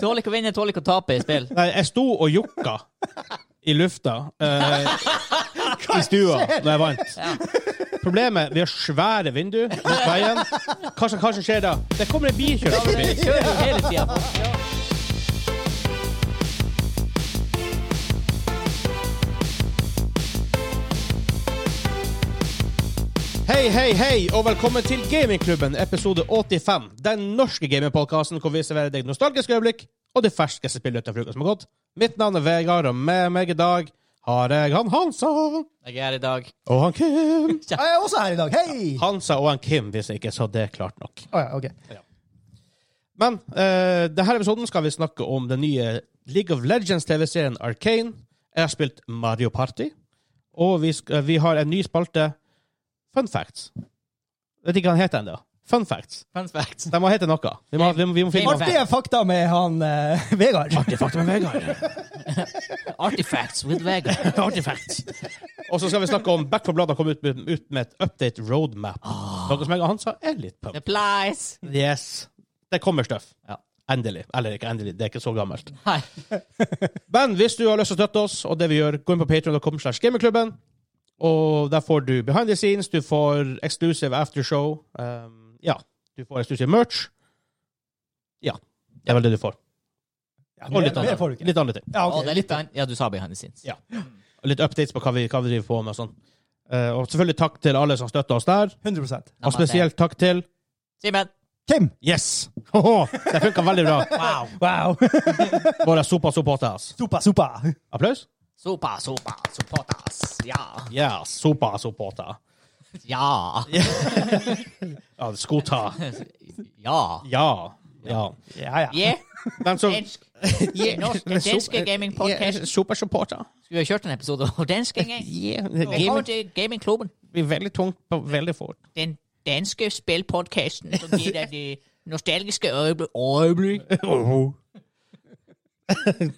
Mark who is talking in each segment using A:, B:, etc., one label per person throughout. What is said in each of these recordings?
A: Tåler ikke å vinne, tåler ikke å tape i spill.
B: Nei, jeg sto og jokka i lufta eh, i stua da jeg vant. Problemet vi har svære vinduer mot veien. Hva som, hva som skjer da? Det kommer en bil kjørende forbi.
A: Vi kjører jo hele tida.
B: Hei, hei, hei, og velkommen til Gamingklubben, episode 85. Den norske gamingpodkasten hvor vi serverer deg nostalgiske øyeblikk og det ferskeste spillet utenfor uka som har gått. Mitt navn er Vegard, og med meg i dag har jeg han Hansa og
A: Jeg er her i dag.
B: han Kim.
C: Jeg er også her i dag. Hei!
B: Hansa og han Kim, hvis jeg ikke sa det klart nok.
C: Å ja, ok.
B: Men eh, denne episoden skal vi snakke om den nye League of Legends-TV-serien Arcane. Jeg har spilt Mario Party. Og vi, sk- eh, vi har en ny spalte, Fun Facts. Vet ikke hva den heter ennå. Fun Facts.
A: Fun fact.
B: De må hete noe. Vi må, vi må, vi må finne noe.
C: Artige fakta med han eh, Vegard.
B: Artig fakta med Vegard.
A: Artifacts with Vegard.
B: Og så skal vi snakke om Back for Blood har kommet ut, med- ut med et update roadmap. Noe som jeg og han sa er litt pump.
A: Supplies.
B: Ah. Yes. Det kommer støff.
A: Ja.
B: Endelig. Eller ikke endelig, det er ikke så gammelt.
A: Hei.
B: Men hvis du har lyst til å støtte oss, og det vi gjør, gå inn på patreon.com slash gamingklubben, og der får du behind the scenes, du får exclusive aftershow, um, ja, du får exclusive merch. Ja, det er vel det du får.
C: Ja,
B: Og
C: mer,
B: litt
C: mer
B: andre,
C: får du ikke.
B: litt andre ting.
C: Ja,
A: Å,
C: ok.
A: det er litt an... Ja, du sa behind the scenes.
B: Ja. Og litt updates på hva vi, hva vi driver på med og sånn. Eh, og selvfølgelig takk til alle som støtter oss der,
C: 100
B: og spesielt takk til
A: Simen.
C: Kim!
B: Yes! Hoho, det funka veldig bra.
A: Wow.
C: Wow!
B: Våre sopa-supporters.
C: Sopa, sopa!
B: Applaus?
A: Sopa, sopa, supportas. Ja.
B: Ja, sopa-supporter.
A: Ja.
B: Ja, skota.
A: Ja.
B: Ja. Ja.
C: Ja, ja.
A: Yeah.
B: Men så
A: Dansk. Yeah. Norsk,
B: Men så-
A: danske gaming podcast.
B: Ja, Supersupporter.
A: Skulle vi ha kjørt en episode om dansk en gang?
B: Yeah.
A: Velkommen
B: Gaming
A: til gamingklubben.
B: blir veldig tungt på veldig fort.
A: Den danske spillpodkasten som gir deg de nostalgiske øyeblikk. øyeblikk.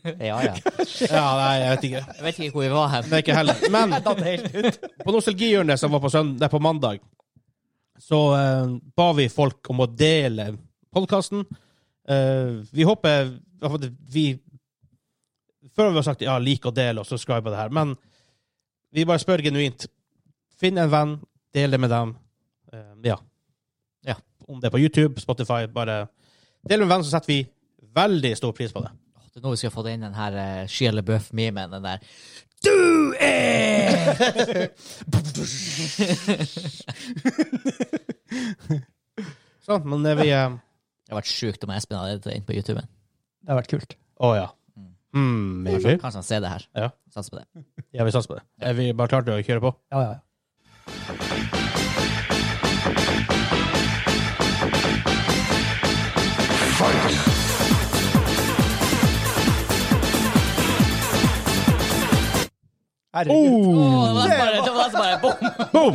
A: Ja, ja.
B: Ja, nei, jeg vet ikke.
A: Jeg vet ikke hvor vi var her.
B: Det er ikke heller. Men
C: Datt helt ut.
B: på nostalgihjørnet som var på, sønd- nei, på mandag, så eh, ba vi folk om å dele podkasten. vi håper at vi Før har vi har sagt ja, lik og del og subscribe og det her, men vi bare spør genuint. Finn en venn, del det med dem. Eh, ja. ja. Om det er på YouTube, Spotify, bare del med en venn, så setter vi veldig stor pris på det.
A: Det er nå vi skal få inn den her uh, Shia LaBeouf-memen. Den der Du er
B: Sånn, men er vi eh,
A: Det hadde vært sjukt om Espen hadde det inn på YouTube.
C: Det har vært kult.
B: Å ja. Hmm, maybe.
A: Kanskje han ser det her.
B: Ja.
A: Sats på det.
B: Ja, vi satser på det. Er vi bare klarte å kjøre på?
C: Ja, ja. Herregud.
A: Å,
B: Oh,
A: det var bare, det var bare bom!
B: boom!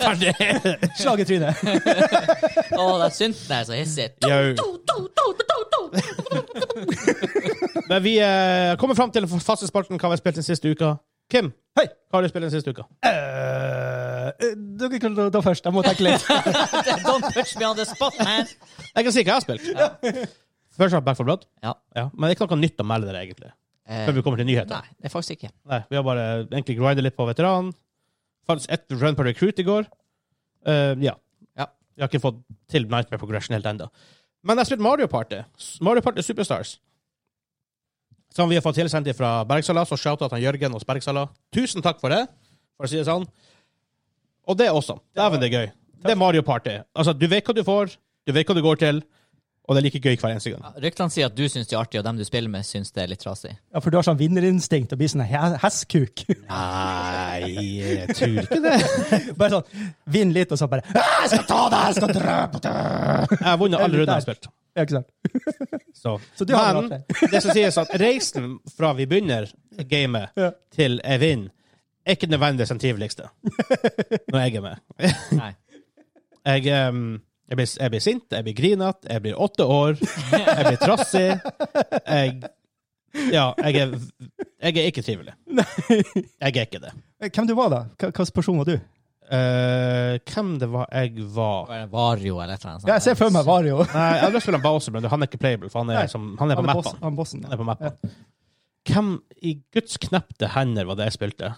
B: Ferdig!
C: Slag i trynet.
A: Å, den synten er så hissig.
B: Jau.
A: Do, do, do, do, do.
B: Men vi eh, kommer fram til den faste spalten hva vi har spilt den siste uka. Kim,
C: Hei!
B: hva har du spilt den siste uka?
C: Eh, dere kan ta- ta først. Jeg må tenke litt.
A: Don't push me on the spot, man!
B: Jeg kan si hva jeg har spilt. Først har jeg Back 4 Blood.
A: Ja.
B: Ja, men det er ikke noe nytt å melde der, egentlig.
A: Eh,
B: Før vi kommer til nyheter.
A: nei, det er faktisk ikke.
B: Nei, vi har bare egentlig grindet litt på veteran. Fantes ett run på recruit i går. Eh, ja.
A: Ja.
B: Vi har ikke fått til Nightmare Progression helt ennå. Men jeg har spilt Mario Party. S- Mario Party Superstars. Som vi har fått tilsendt fra Bergsala, så shout-out til Jørgen hos Bergsala. Tusen takk for det, for å si det sånn. Og det er også. Dæven, det er gøy. Det er Mario Party. Altså, du vet hva du får, du vet hva du går til, og det er like gøy hver eneste gang.
A: Ja, Ryktene sier at du syns det er artig, og dem du spiller med, syns det er litt trasig.
C: Ja, for du har sånn vinnerinstinkt og blir sånn he- hestkuk.
B: Nei, jeg tror ikke det.
C: Bare sånn, vinn litt, og så bare «Ah, Jeg skal ta deg! Jeg skal drepe deg!
B: Jeg har vunnet alle rundene jeg har spilt.
C: Ja, ikke sant?
B: Så.
C: Så du har
B: Men
C: vært
B: det som sies at reisen fra vi begynner gamet
C: Ja.
B: til jeg vinner, er ikke nødvendigvis den triveligste når jeg er med.
A: Nei.
B: Jeg, em, jeg, blir, jeg blir sint, jeg blir grinete, jeg blir åtte år, jeg blir trassig. Jeg, ja, jeg er, jeg er ikke trivelig. Jeg er ikke det.
C: Eh, Hvem du var da? Hva- Hva slags person var du?
B: eh, hvem det var jeg var
A: Vario eller et eller annet. sånt.
C: Ja, jeg ser for meg Vario.
B: Nei, jeg hadde lyst til å spille Bowser, men han er ikke playable, for han er,
C: Nei,
B: som, han er på
C: Han er boss-
B: mappen.
C: han bossen.
B: Han er
C: Ja.
B: på mappen. Hvem i guds knepte hender var det jeg spilte?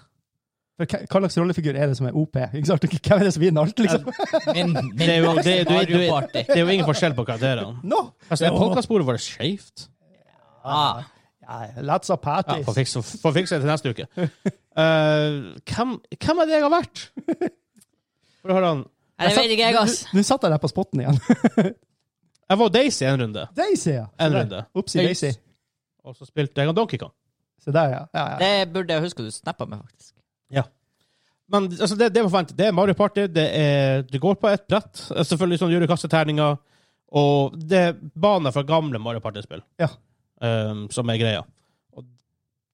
C: For hva hva slags rollefigur er det som er OP? Ikke sant? Hvem er det som vinner alt, liksom?
A: Min, min
B: Det er jo- det- du- du-
A: Mario Party.
B: Det er jo ingen forskjell på karakterene.
C: No!
B: Altså, er Podkastsporet vårt skeivt?
A: Ah,
C: Ja, That's a
B: Ja,
C: patty.
B: får fikse får fikse det til neste uke. Eh, hvem, hvem er det jeg har vært? For å høre han.
A: nei, jeg vet ikke, jeg, ass.
C: Nå satt jeg der på spotten igjen.
B: Jeg var Daisy en runde.
C: Daisy, ja.
B: En runde.
C: Opsi Daisy.
B: Og så spilte jeg han Donkey Kong.
C: Se der, ja. ja, ja.
A: Det burde jeg huske du snappa meg, faktisk.
B: Men altså, det, det var forventet. Det er Mario Party. Det er, du går på et brett. Selvfølgelig sånn gjør du kasteterninger. Og det er baner fra gamle Mario Party-spill
C: Ja.
B: ehm, som er greia. Og,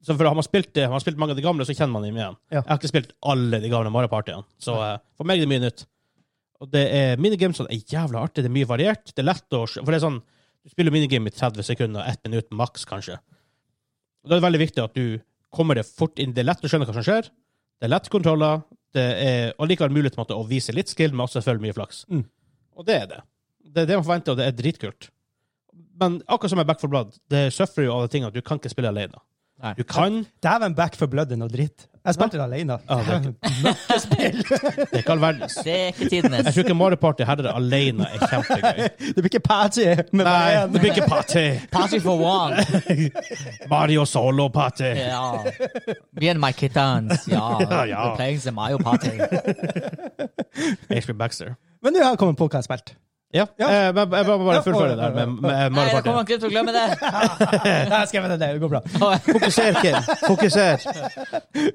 B: så for Har man spilt det, har man spilt mange av de gamle, så kjenner man dem igjen.
C: Ja.
B: Jeg har ikke spilt alle de gamle Mario Partyene, så eh, for meg er det mye nytt. Og det er minigames som er jævla artig. Det er mye variert. Det er lett å For det er sånn Du spiller minigame i 30 sekunder, 1 minutt maks, kanskje. Og Da er det veldig viktig at du kommer det fort inn. Det er lett å skjønne hva som skjer. Det er lett kontroller. Det er allikevel mulig på en måte, å vise litt skill, men også selvfølgelig mye flaks.
C: Mm.
B: Og det er det. Det er det man forventer, og det er dritkult. Men akkurat som med Back for Blood, det sufferer jo av det ting at du kan ikke spille alene.
A: Nei.
B: Du kan
C: Dæven back for blood er noe dritt. Jeg spilte det alene.
B: Ja, Ah, det er ikke- Det er ikke all verdens.
A: Det er ikke
B: Jeg
A: tidenes.
B: tror ikke Mario Party herrer alene er kjempegøy.
C: Det blir ikke patty med
B: Nei,
C: bare
B: det
C: en.
B: blir ikke party!
A: Party for one.
B: Mario solo-party!
A: Ja. Me and my kittens. Ja.
B: Ja, ja.
A: We're playing the Mario Party.
B: Ashby Baxter.
C: Men nå har jeg kommet på hva jeg spilte.
B: Ja,
C: Ja.
B: eh, men jeg bare, bare
C: Ja,
B: fullføre
C: ja,
B: det her
C: ja,
B: med, med
A: Nei,
B: Mario
A: jeg kommer
B: Party.
A: ikke til å glemme det.
C: Nei, jeg skrev det, det går bra.
B: Fokuser, Kim. Fokuser.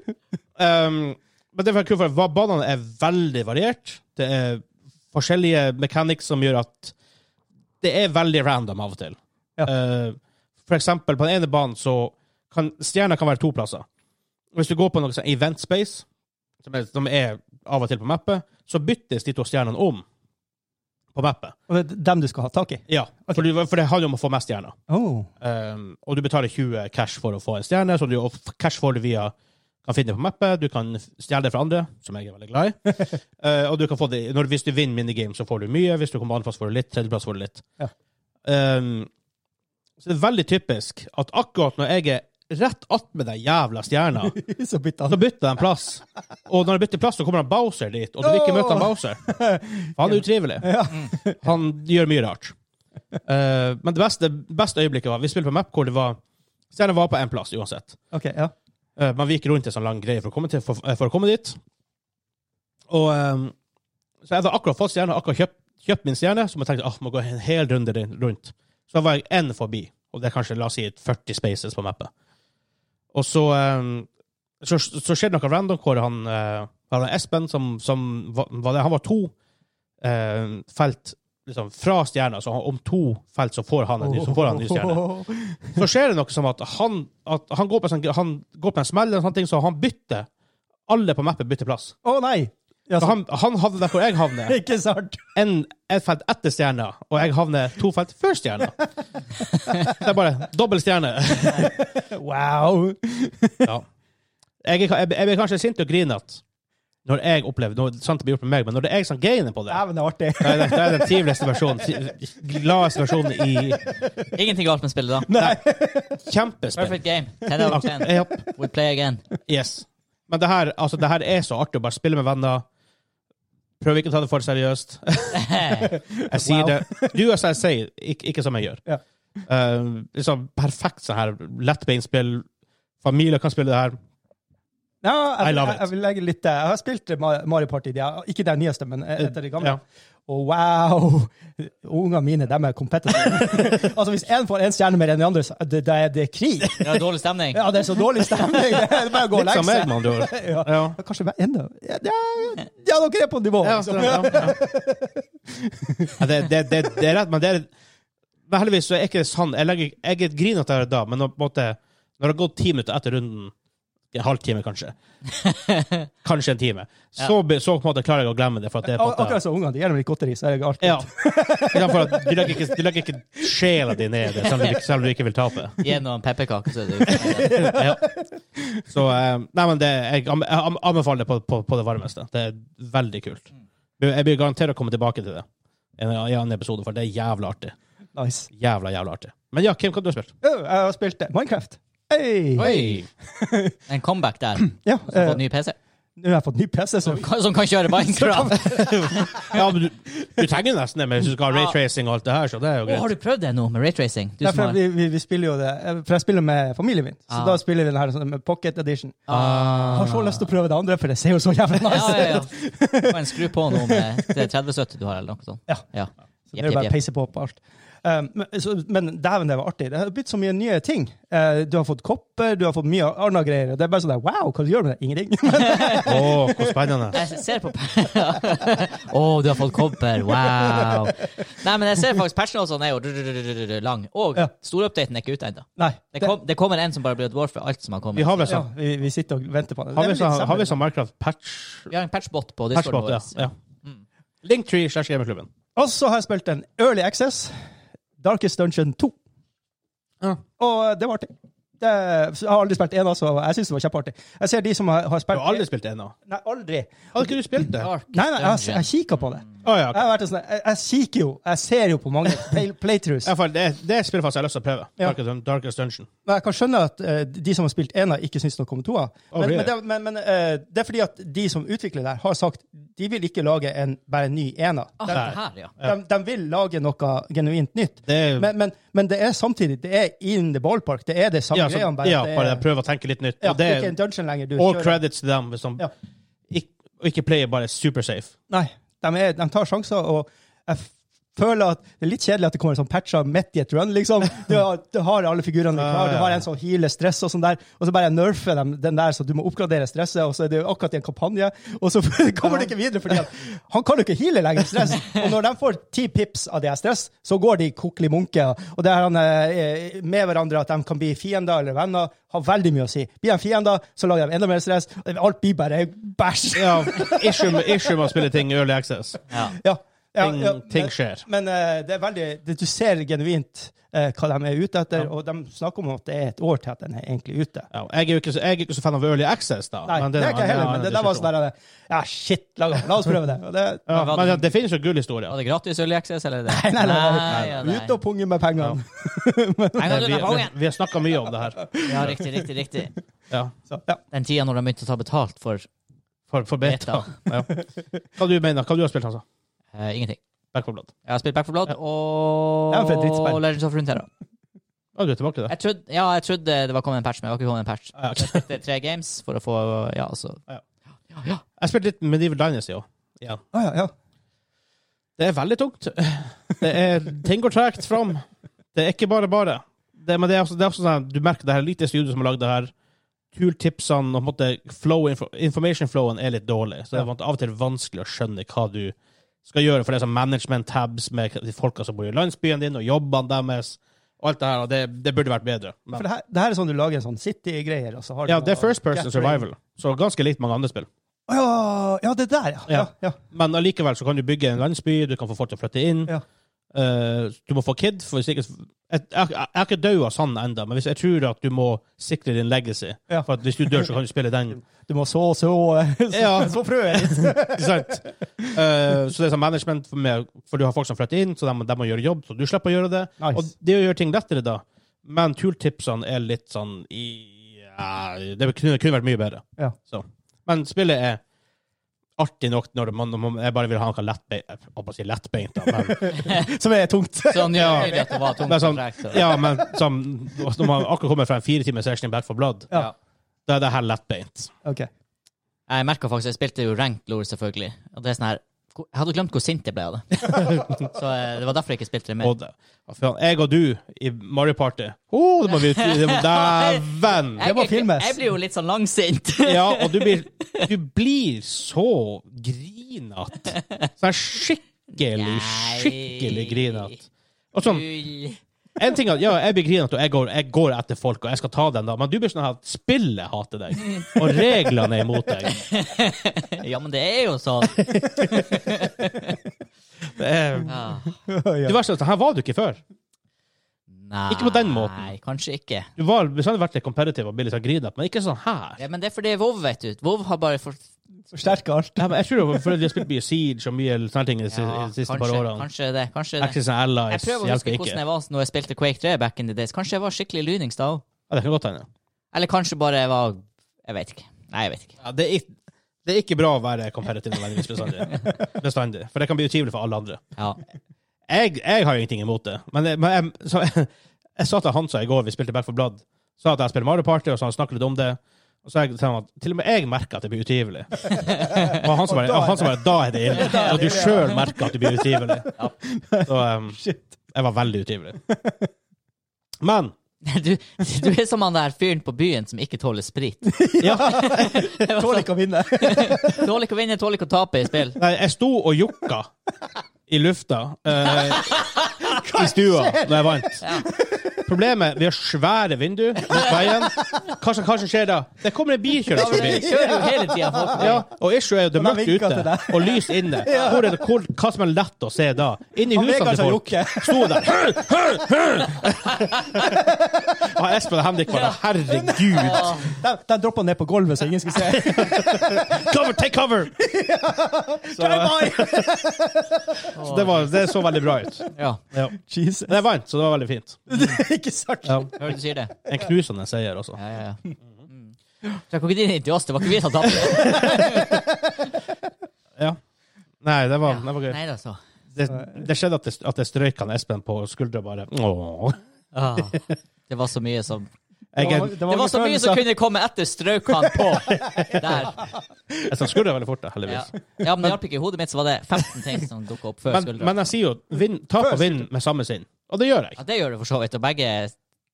B: Um, men det er kult, for hva- banene er veldig variert. Det er forskjellige mechanics som gjør at det er veldig random av og til.
C: Ja.
B: Eh, for eksempel, på den ene banen så kan stjerner kan være to plasser. Hvis du går på noe sånn event space, som er, som er av og til på mappet, så byttes de to stjernene om på mappet.
C: Og det er dem du skal ha tak i.
B: Ja, for, du, for det handler om å få mest stjerner.
C: Oh.
B: Um, og du betaler 20 cash for å få en stjerne, så du, og f- cash får du via kan finne det på mappet, du kan f- stjele det fra andre, som jeg er veldig glad i. Eh, og du kan få det, når, hvis du vinner minigame, så får du mye. Hvis du kommer på andreplass, får du litt. Tredjeplass får du litt.
C: Ja.
B: Um, så det er veldig typisk at akkurat når jeg er rett attmed den jævla stjerna,
C: Så bytta
B: så
C: han.
B: bytter jeg plass. Og når jeg bytter plass, så kommer han Bowser dit, og du vil ikke møte han Bowser. For han er utrivelig. Han gjør mye rart. Eh, men det beste, beste øyeblikket var Vi spilte på map hvor det var Stjerna var på én plass uansett.
C: Ok, ja.
B: Eh, men vi gikk rundt en sånn lang greie for å komme, til, for, eh, for å komme dit. Og eh, Så jeg hadde akkurat fått stjerna, akkurat kjøpt, kjøpt min stjerne, så jeg tenkte jeg ah, må gå en hel runde rundt. Så da var jeg én forbi, og det er kanskje la oss si 40 spaces på mappet. Og så, eh, så, så skjedde noe random hvor han, eh, han Espen, som, som var, var det, han var to eh, felt liksom, fra stjerna, så han, om to felt så får han en ny, så får han en ny stjerne. Så skjer det noe som at han, at han, går, på en sånn, han går på en smell, eller sånne ting, så han bytter. Alle på mappet bytter plass.
C: Å nei!
B: Så
C: Ja, så,
B: han, han havner der hvor jeg havner.
C: ikke sant?
B: En, et felt etter stjerna, og jeg havner to felt før stjerna. Det er bare dobbel stjerne.
C: Wow!
B: Ja. Jeg, er- jeg, jeg blir kanskje sint og grinete når jeg opplever noe sant det blir gjort med meg, men når det er jeg som gainer på det,
C: Dæven, det er artig.
B: da er det, da er det den triveligste versjonen, tri- gladeste versjonen i
A: Ingenting galt med spillet, da.
C: Nei.
B: kjempespill.
A: Perfect game. 10 out of 10.
B: Ja.
A: We play again.
B: Yes. Men det her, altså, det her er så artig å bare spille med venner. Prøv ikke å ta det for seriøst. Jeg sier
C: Wow.
B: det. Du og jeg sier, ikke, ikke som jeg gjør.
C: Ja.
B: Eh, liksom perfekt sånn her. Lettbeinspill. Familier kan spille det her.
C: Ja, jeg,
B: I love
C: jeg,
B: it.
C: jeg vil legge litt eh, Jeg har spilt Ma- Mario Party, de er- ikke det nyeste, men eh, et av de gamle.
B: Ja.
C: Og wow! Ungene mine, de er competitive. altså, hvis én får én stjerne mer enn de andre, så det, det, er, det er krig.
A: Det var dårlig stemning.
C: Ja, det er så dårlig stemning. Det er bare å gå og
B: Litt
C: legge
B: som meg,
C: seg.
B: med andre ord.
C: Ja.
B: Ja.
C: Kanskje hver- enda ja, ja, ja, dere er på nivå.
B: Ja, så-
C: liksom.
B: ja, ja. Ja, det, det, det, det er rett, men det er men heldigvis så er ikke det sann. Jeg, legger- jeg griner til det da, men når, på en måte, når det har gått ti minutter etter runden, en halvtime, kanskje. Kanskje en time. Så, be- så på en måte klarer jeg å glemme det. For at det er på
C: Ak-
B: en måte,
C: Akkurat som ungene. De gir dem litt godteri, så er jeg alltid
B: Ja. I stedet for at du legger ikke, du legger ikke sjela di ned i det, selv om du, ikke- selv om du ikke vil tape.
A: Gi noen pepperkaker, så er du
B: Ja. Så eh, Nei, men det, jeg anbe- jeg an- anbefaler det på, på, på det varmeste. Det er veldig kult. Jeg blir garantert å komme tilbake til det i en i en annen episode, for det er jævla artig.
C: nice.
B: Jævla, jævla artig. Men ja, Kim, hva har du spilt?
C: Ja, Jeg har spilt eh, Minecraft. Hey!
A: Oi! En comeback der.
C: Ja,
A: Så
C: eh,
A: fått ny PC.
C: nå har jeg fått ny PC, så
A: Som, kan- som kan kjøre Minecraft.
B: Ja, men du, du trenger nesten det, men hvis du skal ha raytracing og alt det her, så det er jo
A: Å, har
B: greit.
A: du prøvd det nå, med raytracing? Du
C: Nei,
A: som
C: for
A: har
C: vi, vi, vi spiller jo det eh, For jeg spiller med familien min, så
A: Ah.
C: da spiller vi den her sånn med pocket edition. Jeg
A: ah.
C: har så lyst til å prøve det andre, for det ser jo så jævlig
A: Ja,
C: Ah, nice ut.
A: ja, ja. Du kan skru på noe med det er 3070 du har, eller noe sånt.
C: Ja. Så det er jo bare å peise på på alt. Um, men så- men dæven, det var artig. Det har blitt så mye nye ting. Eh, du har fått kopper, du har fått mye annet greier. Det er bare sånn der, wow, hva gjør du med det? Ingenting.
B: Å, hvor spennende.
A: Jeg ser på Å, du har fått kobber! Wow! Nei, men jeg ser faktisk patchen også, den er jo drudrudrudrudrud lang. Og
C: Ja.
A: storupdaten er ikke ute ennå.
C: Nei.
A: Det, kom, det kommer en som bare blir et dwarf for alt som har
B: Vi
A: kommet.
B: har vel
C: ja,
B: sånn
C: vi, vi sitter og venter på det.
B: har vi
C: Det er vel
B: sånn,
C: litt
B: har vi
C: samme-
B: sånn Minecraft patch
A: Vi har en patchbot på Discord
B: Patchbot,
A: vår.
B: ja. ja. Linktree slash gamerklubben.
C: Og så har jeg spilt en Early Access, Darkest Dungeon 2.
B: Ja.
C: Og det var artig. Det, så jeg har aldri spilt én, altså. og Jeg syns det var kjempeartig. Jeg ser de som har, har
B: Du
C: spilt
B: har aldri spilt det ennå?
C: Nei, aldri.
B: Har ikke du spilt Mm. det? Å
A: Dark
C: Nei, nei, jeg,
A: Dungeon.
C: jeg kikker på det.
B: ja.
C: Jeg, har vært en sånn, jeg, jeg kikker jo. Jeg ser jo på mange play, playthroughs.
B: I hvert fall, det, det er et spill faktisk jeg har lyst til å prøve.
C: Ja.
B: Darkest, Dun- Darkest Dungeon.
C: Men jeg kan skjønne at eh, de som har spilt ena, ikke syns noe om toa.
B: Oh,
C: men,
B: really?
C: men, det, men, men eh, det er fordi at de som utvikler det, her har sagt de vil ikke lage en bare en ny ena.
A: Ah, det her, ja.
C: De, de vil lage noe genuint nytt.
B: Det er,
C: Men, men, men det er samtidig det er in the ballpark. Det er det samme
B: ja, så,
C: greia.
B: ja,
C: at det
B: bare
C: er,
B: prøve å tenke litt nytt.
C: ja,
B: og det
C: ikke en
B: er
C: dungeon lenger. Du
B: all
C: kjører-
B: credits til dem hvis de
C: Ja.
B: ikke, ikke player bare supersafe.
C: Nei, de, er, de tar sjanser, og jeg f- føler at det er litt kjedelig at det kommer sånn patcher midt i et run, liksom. Du har, du har alle figurene dine klare, du har en som healer stress og sånn der, og så bare nerfer de den der, så du må oppgradere stresset, og så er det jo akkurat i en kampanje, og så kommer du ikke videre, fordi at han kan jo ikke heale lenger stress. Og når de får ti pips av det her stress, så går de kokkelig munke, og det er han eh, med hverandre at de kan bli fiender eller venner, har veldig mye å si. Blir de fiender, så lager de enda mer stress, og alt blir bare bæsj.
B: Ja, issue, med- issue med å spille ting i early access.
A: ja.
C: Ja. ja,
B: Ting,
C: ja,
B: ting
C: men-
B: skjer.
C: Men eh, det er veldig, det, du ser genuint eh, hva de er ute etter, og de snakker om at det er et år til at den er egentlig ute.
B: Ja, jeg, er jo ikke så, jeg er ikke så fan av early access, da.
C: Nei,
B: men
C: det er
B: en
C: ikke jeg
B: annen-
C: heller,
B: en
C: men det
B: annen
C: der var
B: diskusjon.
C: sånn der Ja, shit, la, la oss prøve det. Og det
B: Ja,
A: Men hva-
B: men det, det finnes jo gullhistorier.
A: Var det gratis Early Access, eller? er Det?
C: nei, nei, nei.
A: nei, ja, nei.
C: ut og punge med pengene.
A: Nei, nå er
B: Vi,
A: du der på
B: vi,
A: gangen.
B: vi har snakka mye om det her.
A: Ja, riktig, riktig, riktig.
B: Ja,
C: Så, ja.
A: Den tida når de begynte å ta betalt for
B: for, for beta.
A: beta.
B: Ja. Hva du mener Hva du har spilt, Hansa?
A: eh, ingenting.
B: Back for blood.
A: Jeg har spilt Back for Blood
C: Ja, for et
A: og
C: drittspill.
A: Legends of Runeterra.
B: Ja, du er tilbake til det?
A: Jeg trodde, ja, jeg trodde det var kommet en patch, men det var ikke kommet en patch.
B: Ja, ok.
A: Så jeg spilte tre games for å få Ja, altså.
B: Ja.
A: Ja, ja.
B: Jeg spilte litt Medieval Dynasty òg. Ja.
C: Ah, ja, ja.
B: Det er veldig tungt. Det er, ting går tregt fram. Det er ikke bare bare. Det, men det er også, det er også sånn, du merker det her lite studio som har lagd det her. Turtipsene og på en måte flow, info- information flowen er litt dårlig. Så det er av og til vanskelig å skjønne hva du skal gjøre. For det er sånn management tabs med de folka som bor i landsbyen din, og jobbene deres. Og alt det her. Og det, det burde vært bedre.
C: For
B: Men,
C: det her, det her er sånn du lager en sånn City-greier, og så har du
B: ja, det er
C: noe-
B: first person
C: Get
B: survival. Så ganske likt mange andre spill.
C: Rain. Å, Ja, ja, det der, ja. ja.
B: Ja.
C: ja,
B: Men allikevel så kan du bygge en landsby, du kan få folk til å flytte inn.
C: Ja.
B: Eh, du må få kid. For hvis ikke, jeg, jeg, jeg er ikke død av sand ennå, men hvis jeg tror at du må sikre din legacy
C: Ja.
B: For at Hvis du dør, så kan du spille den.
C: Du må så, så, så,
B: Ja.
C: så frøet ditt.
B: Ikke sant? Eh, så det er sånn management, for, meg, for du har folk som flytter inn, så de, de må gjøre jobb, så du slipper å gjøre det.
C: Nice.
B: Og det gjør ting lettere da. Men turtipsene er litt sånn i, ja, Det kunne, kunne vært mye bedre.
C: Ja.
B: Så. Men spillet er artig nok når man, når man jeg bare vil ha noe lettbeint. Jeg holdt på å si lettbeint, da. Men
C: Som er tungt.
A: Sånn
B: Ja.
A: gjør det at det var tungt.
B: Men sånn-
A: kontrakt, og-
B: Ja, men som, når man akkurat kommer fra en fire timer session i Back for Blood,
C: Ja.
B: da er det her lettbeint.
C: Ok.
A: Jeg merket faktisk Jeg spilte jo ranked lore, selvfølgelig. Og det er sånn her hvor- Jeg hadde glemt hvor sint jeg ble av det. Så eh, det var derfor jeg ikke spilte det mer.
B: Og det, og faen, jeg og du i Mario Party oh, det må vi ut det må- Dæven!
A: Jeg,
C: må
A: jeg,
C: filmes.
A: jeg blir jo litt sånn langsint.
B: Ja, og du blir, du blir så grinete. Sånn skikkelig, skikkelig grinete. Og sånn
A: Ull.
B: En ting er at, ja, jeg blir grinete, og jeg går, jeg går etter folk, og jeg skal ta dem, da. Men du blir sånn her at spillet hater deg, og reglene er imot deg.
A: Ja, men det er jo sånn.
B: Det er,
A: Ja.
B: det verste er at her var du ikke før.
A: Nei,
B: Ikke på den måten.
A: Nei, kanskje ikke.
B: Du var bestandig vært litt competitive og blitt litt sånn grinete, men ikke sånn her.
A: Ja, men det er fordi WoW, vet du. WoW har bare fått
C: Forsterker alt.
B: Ja, men jeg tror det var fordi vi har spilt mye Siege og mye sånne ting de
A: ja,
B: siste
A: kanskje,
B: par årene.
A: kanskje det. Kanskje det.
B: Axis and
A: Jeg prøver å
B: Allies
A: huske
B: hjelper ikke.
A: hvordan jeg var når jeg spilte Quake 3 back in the days. Kanskje jeg var skikkelig lynings da òg.
B: Ja, det kan godt hende.
A: Eller kanskje bare jeg var Jeg vet ikke. Nei, jeg vet ikke.
B: Ja, det, er ikke, det er ikke bra å være competitive nødvendigvis bestandig. bestandig. For det kan bli utrivelig for alle andre.
A: Ja.
B: Jeg, jeg har jo ingenting imot det. Men, det- men jeg, så, jeg, sa til Hansa i går, vi spilte Back for Blood, sa at jeg spiller Mario Party, og så han snakket litt om det. Og så jeg, sa han at til og med jeg merker at det blir utrivelig. Og han som bare, ja, han som bare da er det ille. Og du sjøl merker at det blir utrivelig. Så um, jeg var veldig utrivelig. Men
A: Du, du er som han der fyren på byen som ikke tåler sprit.
C: Tåler ikke å vinne.
A: Tåler ikke å vinne, tåler ikke å tape i spill.
B: Nei, jeg sto og jokka i lufta eh, i stua når jeg vant. Problemet Vi har svære vinduer mot veien. Hva som, hva som skjer da? Det kommer en bil kjørende
A: Ja, men
B: forbi.
A: jeg kjører jo hele tida folk.
B: Ja, og issue er jo det er
C: Og da
B: mørkt
C: vinker jeg
B: ute og lys inne. Hvor er det, hvor, hva som er lett å se da? Inni
C: Han
B: husene
C: Vegard sa
B: til folk
C: jokke.
B: sto der. Hø, hø, hø. Og Espen og Henrik bare Herregud!
A: Ja.
C: De, de droppa ned på gulvet, så ingen skulle se.
B: Cover, take cover! Så, så det, var, det så veldig bra ut.
A: Ja,
B: Ja.
C: Jesus.
B: Men jeg vant, så det var veldig fint.
C: ikke sant?
A: hører du sier det?
B: En knusende seier, altså.
A: Ja, ja, ja. Mm. Trakk dere ikke inn til oss? Det var ikke vi som tapte.
B: Ja. Nei, det var, det var gøy.
A: Nei da, så.
B: Det, det skjedde at jeg, at jeg strøyk han Espen på skuldra bare. Åh.
A: Ah, det var så mye som
B: Jeg,
C: Det var-
B: jeg,
C: det
A: Det var
C: var mange
A: så mye som
C: følelser.
A: kunne komme etter strøk han på. Der.
B: jeg tar skuldra veldig fort, da,
A: Ja.
B: heldigvis.
A: ja, men det hjalp ikke. I hodet mitt så var det 15 ting som dukka opp før
B: Men,
A: skuldra.
B: men jeg sier jo vinn, tap og vinn med samme sinn. Og det gjør jeg.
A: Ja, det gjør det for så vidt, og begge er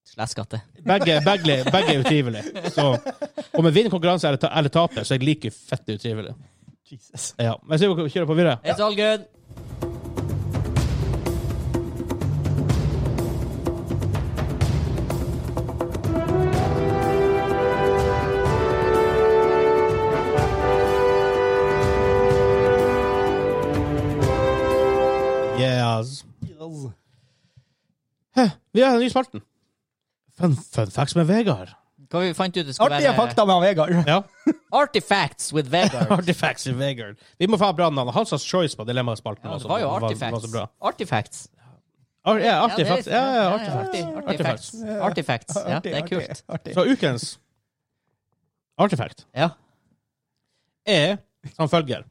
A: sleskete.
B: Begge, begge, begge er utrivelige. Så om jeg vinner konkurranse eller, ta, eller taper, så er jeg like fett utrivelig.
C: Jesus.
B: Ja. Men jeg sier vi kjører på videre.
A: It's all good.
B: Yes. Vi har den nye spalten. Fun, fun facts med Vegard.
A: Hva vi fant ut det eh, skulle
C: Artige
A: være
C: fakta med han Vegard.
B: Ja.
A: Artifacts with Vegard.
B: Artifacts med Vegard. Vi må få ha brannene. Hans har choice på dilemmaspalten.
A: Ja,
B: også.
A: det var jo
B: Den den
A: artifacts.
B: så bra.
A: Artifacts.
B: Ar ja,
A: Ja, det er-
B: artifacts. Ja, ja,
A: ja,
B: artifacts.
A: artig-
B: Artifacts.
A: Artifacts. Artifacts. Ja, det er kult.
C: Artig.
B: Så ukens artifact
A: Ja.
B: er som følger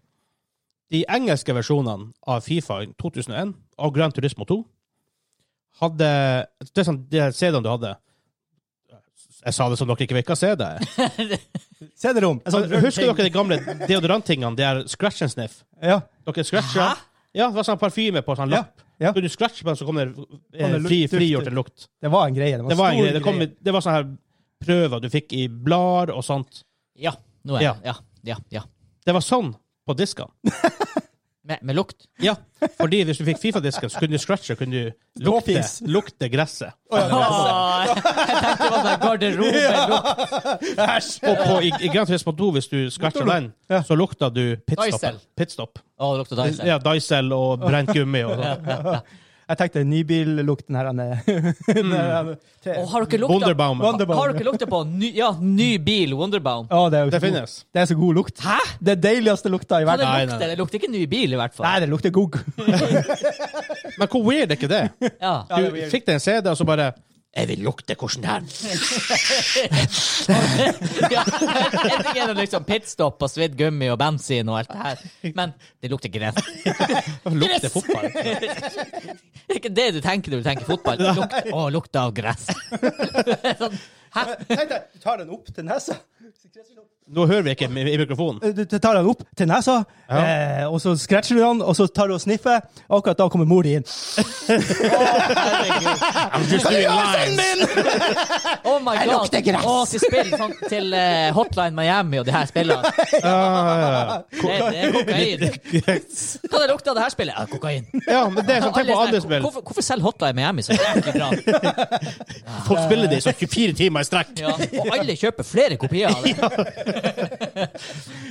B: De engelske versjonene av Fifa i 2001 og Grand Turismo 2 hadde Det er sånn, de CD-ene du hadde Jeg sa det som dere ikke virka CD.
C: CD-rom. En sånn rund
B: Husker
C: ting.
B: dere de gamle deodoranttingene? De er scratch and sniff?
C: Ja.
B: Dere scratcha? Ja, det var sånn parfyme på sånn
C: Ja,
B: lapp.
C: ja.
B: Kunne du scratche på den, så kom det eh,
C: det lukt-
B: fri,
C: duft-
B: frigjort en lukt.
C: Det var en greie. Det var,
B: Det var en
C: stor
B: greie. Det, kom, i- det var sånne her prøver du fikk i blader og sånt.
A: Ja. Nå er
B: Ja.
A: jeg Ja. Ja. ja.
B: Det var sånn på diskene.
A: Med, med lukt.
B: Ja, fordi hvis du fikk Fifa-disken, så kunne du scratche, kunne du lukte,
C: Ståpils.
B: lukte gresset.
A: Ah, jeg tenkte det var sånn garderobelukt.
C: Æsj!
B: Og på, i, i Grand Turismo 2, hvis du scratcha den,
C: Ja.
B: så lukta du pitstop.
A: Dysel.
B: pitstop.
A: Å, det lukter deilig.
B: Ja, Dysel og brent gummi og sånn.
C: Jeg tenkte nybillukten her han
A: Mm.
C: er- den her, han er-
A: Å, har dere lukta
B: Wonderbaum.
C: Wonderbaum.
A: Har dere lukta på ny, ja, ny bil, Wonderbaum?
C: Å, det, er jo
B: Det
C: god-
B: finnes.
C: Det er så god lukt.
A: Hæ?
C: Det er deiligste lukta i
A: Hva
C: verden.
A: det
B: Nei, nei,
A: lukter?
B: nei.
A: Det lukter ikke ny bil, i hvert fall.
C: Nei, det lukter gugg.
B: Men hvor weird er ikke det?
A: Ja.
C: det er
B: Du
C: weird.
B: fikk deg en CD, og så bare Jeg vil lukte hvordan det er.
A: ja. En ting er det liksom pitstop og svidd gummi og bensin og alt det her, men det lukter gress.
B: Lukter
A: Gress!
B: fotball.
A: Det er ikke det du tenker når du tenker fotball. Lukt, å, lukta av gress. sånn,
C: Tenk deg, du tar den opp til nesa.
B: Nå hører vi ikke i i mikrofonen.
C: Du du tar den opp til nesa,
B: Ja.
C: eh, og så scratcher du den, og så tar du og sniffer. Akkurat da kommer mor di inn.
A: Oh my
C: Jeg
A: god!
C: lukter gress.
A: Å, til spill sånn, til eh, Hotline Miami og de her spillene.
B: Ja,
A: Det, det er kokain. Hva det lukter av det her spillet? Ja, kokain.
B: Ja, men det er sånn, tenk på
A: Alle
B: andre
A: sånn,
B: spill.
A: Hvorfor, hvorfor selger Hotline Miami så jævlig bra?
B: Folk spiller det i sånn 24 timer i strekk.
A: Ja, og alle kjøper flere kopier av det.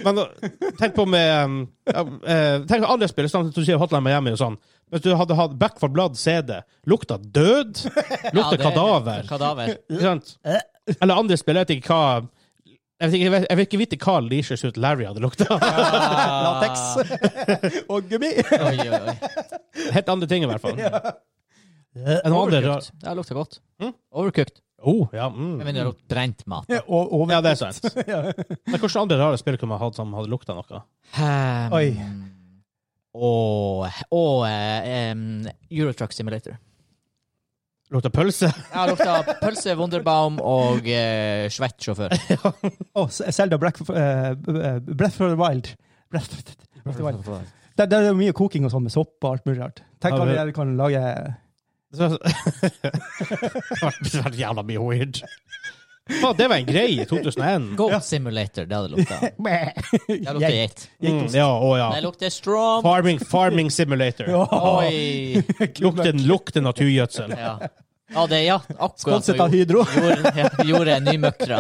B: Men uh, tenk på med um, ja, eh, Tenk på andre spill, sånn som du sier Hotline Miami og sånn. Hvis du hadde hatt Back for Blood CD, lukta død,
A: Ja,
B: lukta
A: det- Eh.
B: kadaver.
A: Kadaver.
B: Ikke sant? Eller andre spill, jeg vet ikke hva Jeg vet ikke, jeg vet, jeg vil ikke vite hva Leisure Suit Larry hadde lukta.
C: Latex og gummi.
A: Oi, oi, oi.
B: Helt andre ting, i hvert fall. Enn andre rar-
A: Overcooked. Det her lukter godt. Overcooked.
B: Oh, ja, mm.
A: Jeg mener, det lukter brent mat.
C: Og over.
B: ja, det er sant. Men hvilke andre rare spill kunne man hatt som hadde lukta noe?
A: Um,
C: Oi.
A: Og, og eh, em, Eurotruck Simulator.
B: Lukta pølse?
A: Jeg har lukta pølse, Wunderbaum og eh, svett sjåfør.
C: Og Selda Breath, eh, Breath of the Wild. Breath of the- Breath of the Wild.
A: Hva
C: Der, der er det mye koking og sånn med sopp og alt mulig rart. Tenk
B: Ja,
C: hva vi
B: vi-
C: der kan lage
B: Så- Det har vært jævla mye weird. Faen, det var en greie i 2001.
A: Goat Simulator, det hadde lukta. Det lukter
C: Geit.
A: geit.
B: Mm, ja, å ja.
A: Det lukter strom.
B: Farming, farming simulator.
C: Ja.
A: Oi.
B: Lukter lukte naturgjødsel.
A: Ja. Ja, det, ja, akkurat
C: Sponset av Hydro.
A: gjorde, ja, gjorde nymøkra.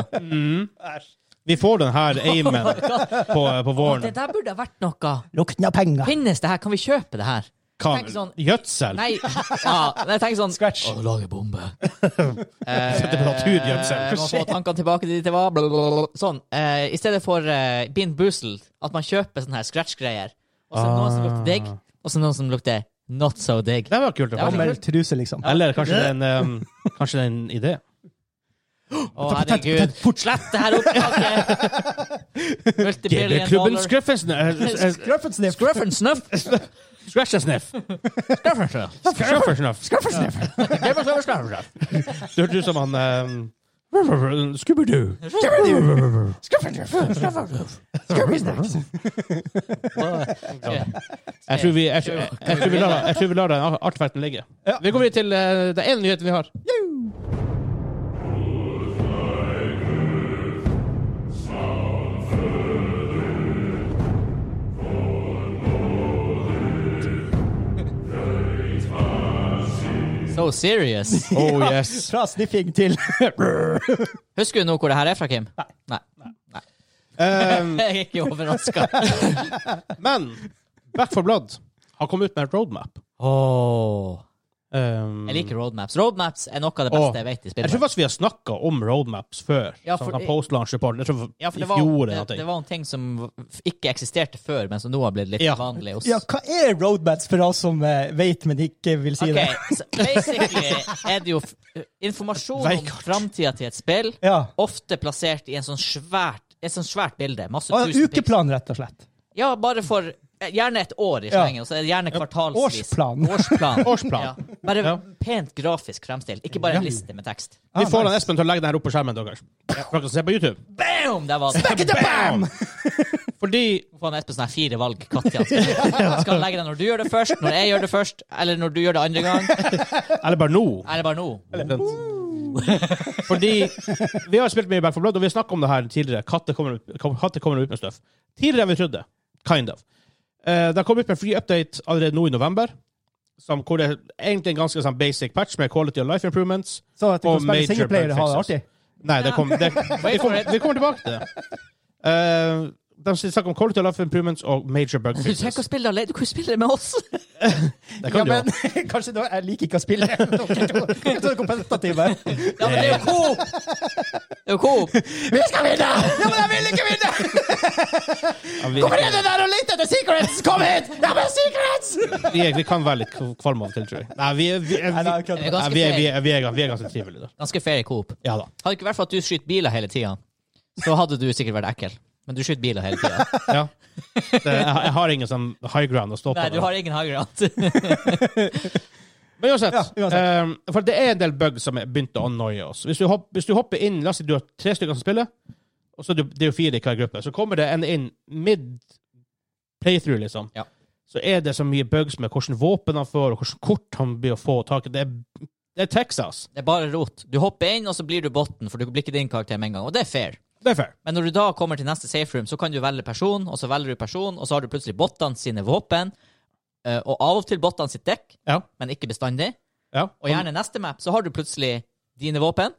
B: Vi får den her aimen på, på
A: Det
B: våren.
A: der burde ha vært noe.
C: Lukten av penger.
A: Finnes det her? Kan vi kjøpe det her?
B: Kan,
A: Tenk sånn-
B: gjødsel?
A: Nei, ja, men jeg tenker sånn
C: Scratch.
A: Å, lage bombe.
B: Sette på naturgjødsel.
A: eh, Man får tankene tilbake dit det var. bla, bla, bla, bla. Sånn. Eh, I stedet for uh, Bean Boozled, at man kjøper sånne her scratch-greier. Og så er det noen som lukter digg, og så er det noen som lukter not so digg.
B: Det var kult. å
A: Ja,
B: få.
A: men-
C: Gammel truse, liksom.
B: Eller kanskje det er en, um, kanskje det er en idé?
A: Å, herregud. Slett det her opptaket! Multibillion
B: GB-klubben
A: dollar.
B: Scruffensniff eh,
C: Scruffensniff.
A: Scruff and snuff.
B: Scruffensniff Scruffensniff Du hørte ut som han ehm, um, Scooby-Doo. Jeg tror vi, jeg, tror- jeg, jeg, tror vi lar- jeg tror vi lar den artverten ligge. Vi går videre til eh, den ene nyheten vi har.
A: So serious.
B: Oh yes.
C: Fra sniffing til
A: Husker du nå hvor det her er fra, Kim? Nei.
B: Um,
A: Jeg er ikke overraska.
B: men Back for Blood har kommet ut med en roadmap. Um,
A: Jeg liker roadmaps. Roadmaps er noe av det beste jeg vet i
B: Jeg tror
A: spillet.
B: faktisk vi har snakka om roadmaps før.
A: Ja,
B: sånn
A: for-
B: sånn Post-launch report. Jeg tror
A: Ja, for det
B: i
A: var,
B: fjor
A: det,
B: eller noe.
A: det var en ting som ikke eksisterte før, men som nå har blitt litt
B: Ja.
A: vanlig hos
C: Ja, hva er roadmats for oss som eh, vet, men ikke vil si
A: Ok,
C: det?
A: så basically er det jo f- informasjon om
B: Veikart.
A: framtida til et spill,
C: Ja.
A: ofte plassert i en sånn svært, et sånn svært bilde. Masse
C: Og
A: tusen pixel.
C: ukeplan, rett og slett.
A: Ja, bare for eh, Gjerne et år i
C: Ja.
A: slengen, og så er det gjerne kvartalsvis.
C: Årsplan.
A: Årsplan.
B: Årsplan.
A: Ja. Bare
B: Ja.
A: pent grafisk fremstilt, ikke bare en liste med tekst.
B: Vi
C: Ah,
B: får
C: nice.
B: han Espen til å legge den her opp på skjermen deres. Dere kan se på YouTube.
A: Boom! Der var det.
B: Bam! Fordi
A: Få han Espen sånn her fire valg. Katja. Skal han legge det når du gjør det først, når jeg gjør det først, eller når du gjør det andre gang?
B: Eller bare nå.
A: Eller bare nå?
B: Fordi vi har spilt mye Back 4 Blood, og vi har snakket om det her tidligere. Katter kommer, kom- katter kommer ut med støff. Tidligere enn vi trodde. Kind of. Eh, det har kommet ut med en free update allerede nå i november, som, hvor det er egentlig en ganske sånn basic patch med quality of life improvements.
C: Så at du
B: Og
C: kan spille
B: major
C: singleplayer og ha det
B: bug
C: artig.
B: Nei, det kom, det, vi, kommer, vi kommer tilbake til det. Eh, de snakker om quality of life improvements og major bug
A: Du trenger
B: fixes.
A: ikke å spille alene, du kan jo spille med oss!
B: Det
C: Ja,
B: kan du
C: men
B: også.
C: kanskje da Jeg liker ikke å spille. Dere to- dere to er kompetitive.
A: Ja, men det er jo coop! Det er jo coop!
C: Vi skal vinne! Ja, men jeg vil ikke vinne!
B: Ja, vi,
C: det der og lete etter secrets? Kom hit! Ja, men secrets!
B: vi, vi kan være litt kvalme av og til, tror jeg. Nei, vi, vi, vi,
C: Nei, nei, jeg
A: Det er
C: kødder.
B: Nei,
A: ganske
B: vi,
A: fair.
B: er, vi, er, vi, er, vi er ganske trivelige der.
A: Ganske fair i coop.
B: Ja da.
A: Hadde det ikke vært for at du skyter biler hele tida, så hadde du sikkert vært ekkel. Men du skyter biler hele tida.
B: Ja. Det, jeg, har- jeg har ingen sånn high ground å stå
A: Nei, du
B: på. der.
A: har ingen hagerant.
B: Men uansett,
C: Ja, uansett.
B: eh, for det er en del bugs som er begynt å annoye oss. Hvis du, hopp, hvis du hopper inn La oss si du har tre stykker som spiller. Og så er det det er jo fire i hver gruppe. Så kommer det en inn mid playthrough, liksom.
A: Ja.
B: Så er det så mye bugs med hvordan våpen han får, og hvordan kort han blir å få tak i. Det er, det er Texas.
A: Det er bare rot. Du hopper inn, og så blir du botten, for du blir ikke din karakter med en gang. Og det er fair.
B: Det er fair.
A: Men når du da kommer til neste safe room, så kan du velge person, og så velger du person, og så har du plutselig bottene sine våpen, eh, og av og til bottene sitt dekk,
B: Ja.
A: men ikke bestandig.
B: ja.
A: Og gjerne neste map, så har du plutselig dine våpen,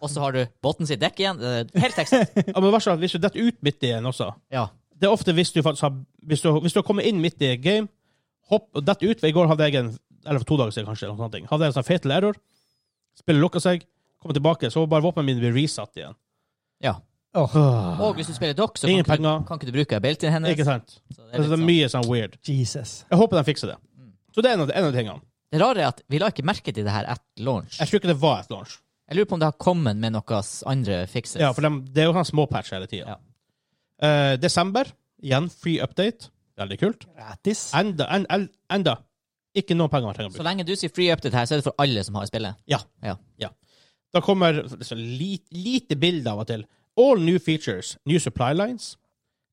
A: og så har du botten sitt dekk igjen. Eh, Helt tekst.
B: ja men verst er at hvis du detter ut midt i en også
A: Ja.
B: Det er ofte hvis du faktisk har Hvis du, hvis du har kommet inn midt i game, hopp og detter ut for I går hadde jeg en Eller for to dager siden, kanskje. Eller noe sånt. ting. Hadde jeg en sånn fatal error. Spillet lukka seg. Kommer tilbake, så bare våpnene mine blir resatt igjen.
A: ja.
B: Åh,
A: Og hvis du spiller dock, så kan
B: Ingen
A: ikke,
B: penger.
A: du, kan ikke du bruke beltene hennes.
B: Ikke sant?
A: Så
B: Det er, det er mye sånn weird.
C: Jesus.
B: Jeg håper de fikser det. Så det er en av, en av tingene.
A: Det rare er at vi la ikke merke til det her at launch.
B: Jeg tror ikke det var et launch.
A: Jeg lurer på om det har kommet med noen andre fixes.
B: Ja, for dem- det er jo sånn småpatch hele
A: Ja.
B: tida. Eh, desember, igjen free update. Veldig kult.
C: Gratis.
B: Enda, en, en, enda. ikke noen penger man trenger å bruke.
A: Så lenge du sier free update her, så er det for alle som har spillet.
B: Ja.
A: Ja.
B: Da kommer så lite, lite bilde av og til. All new features, new supply lines.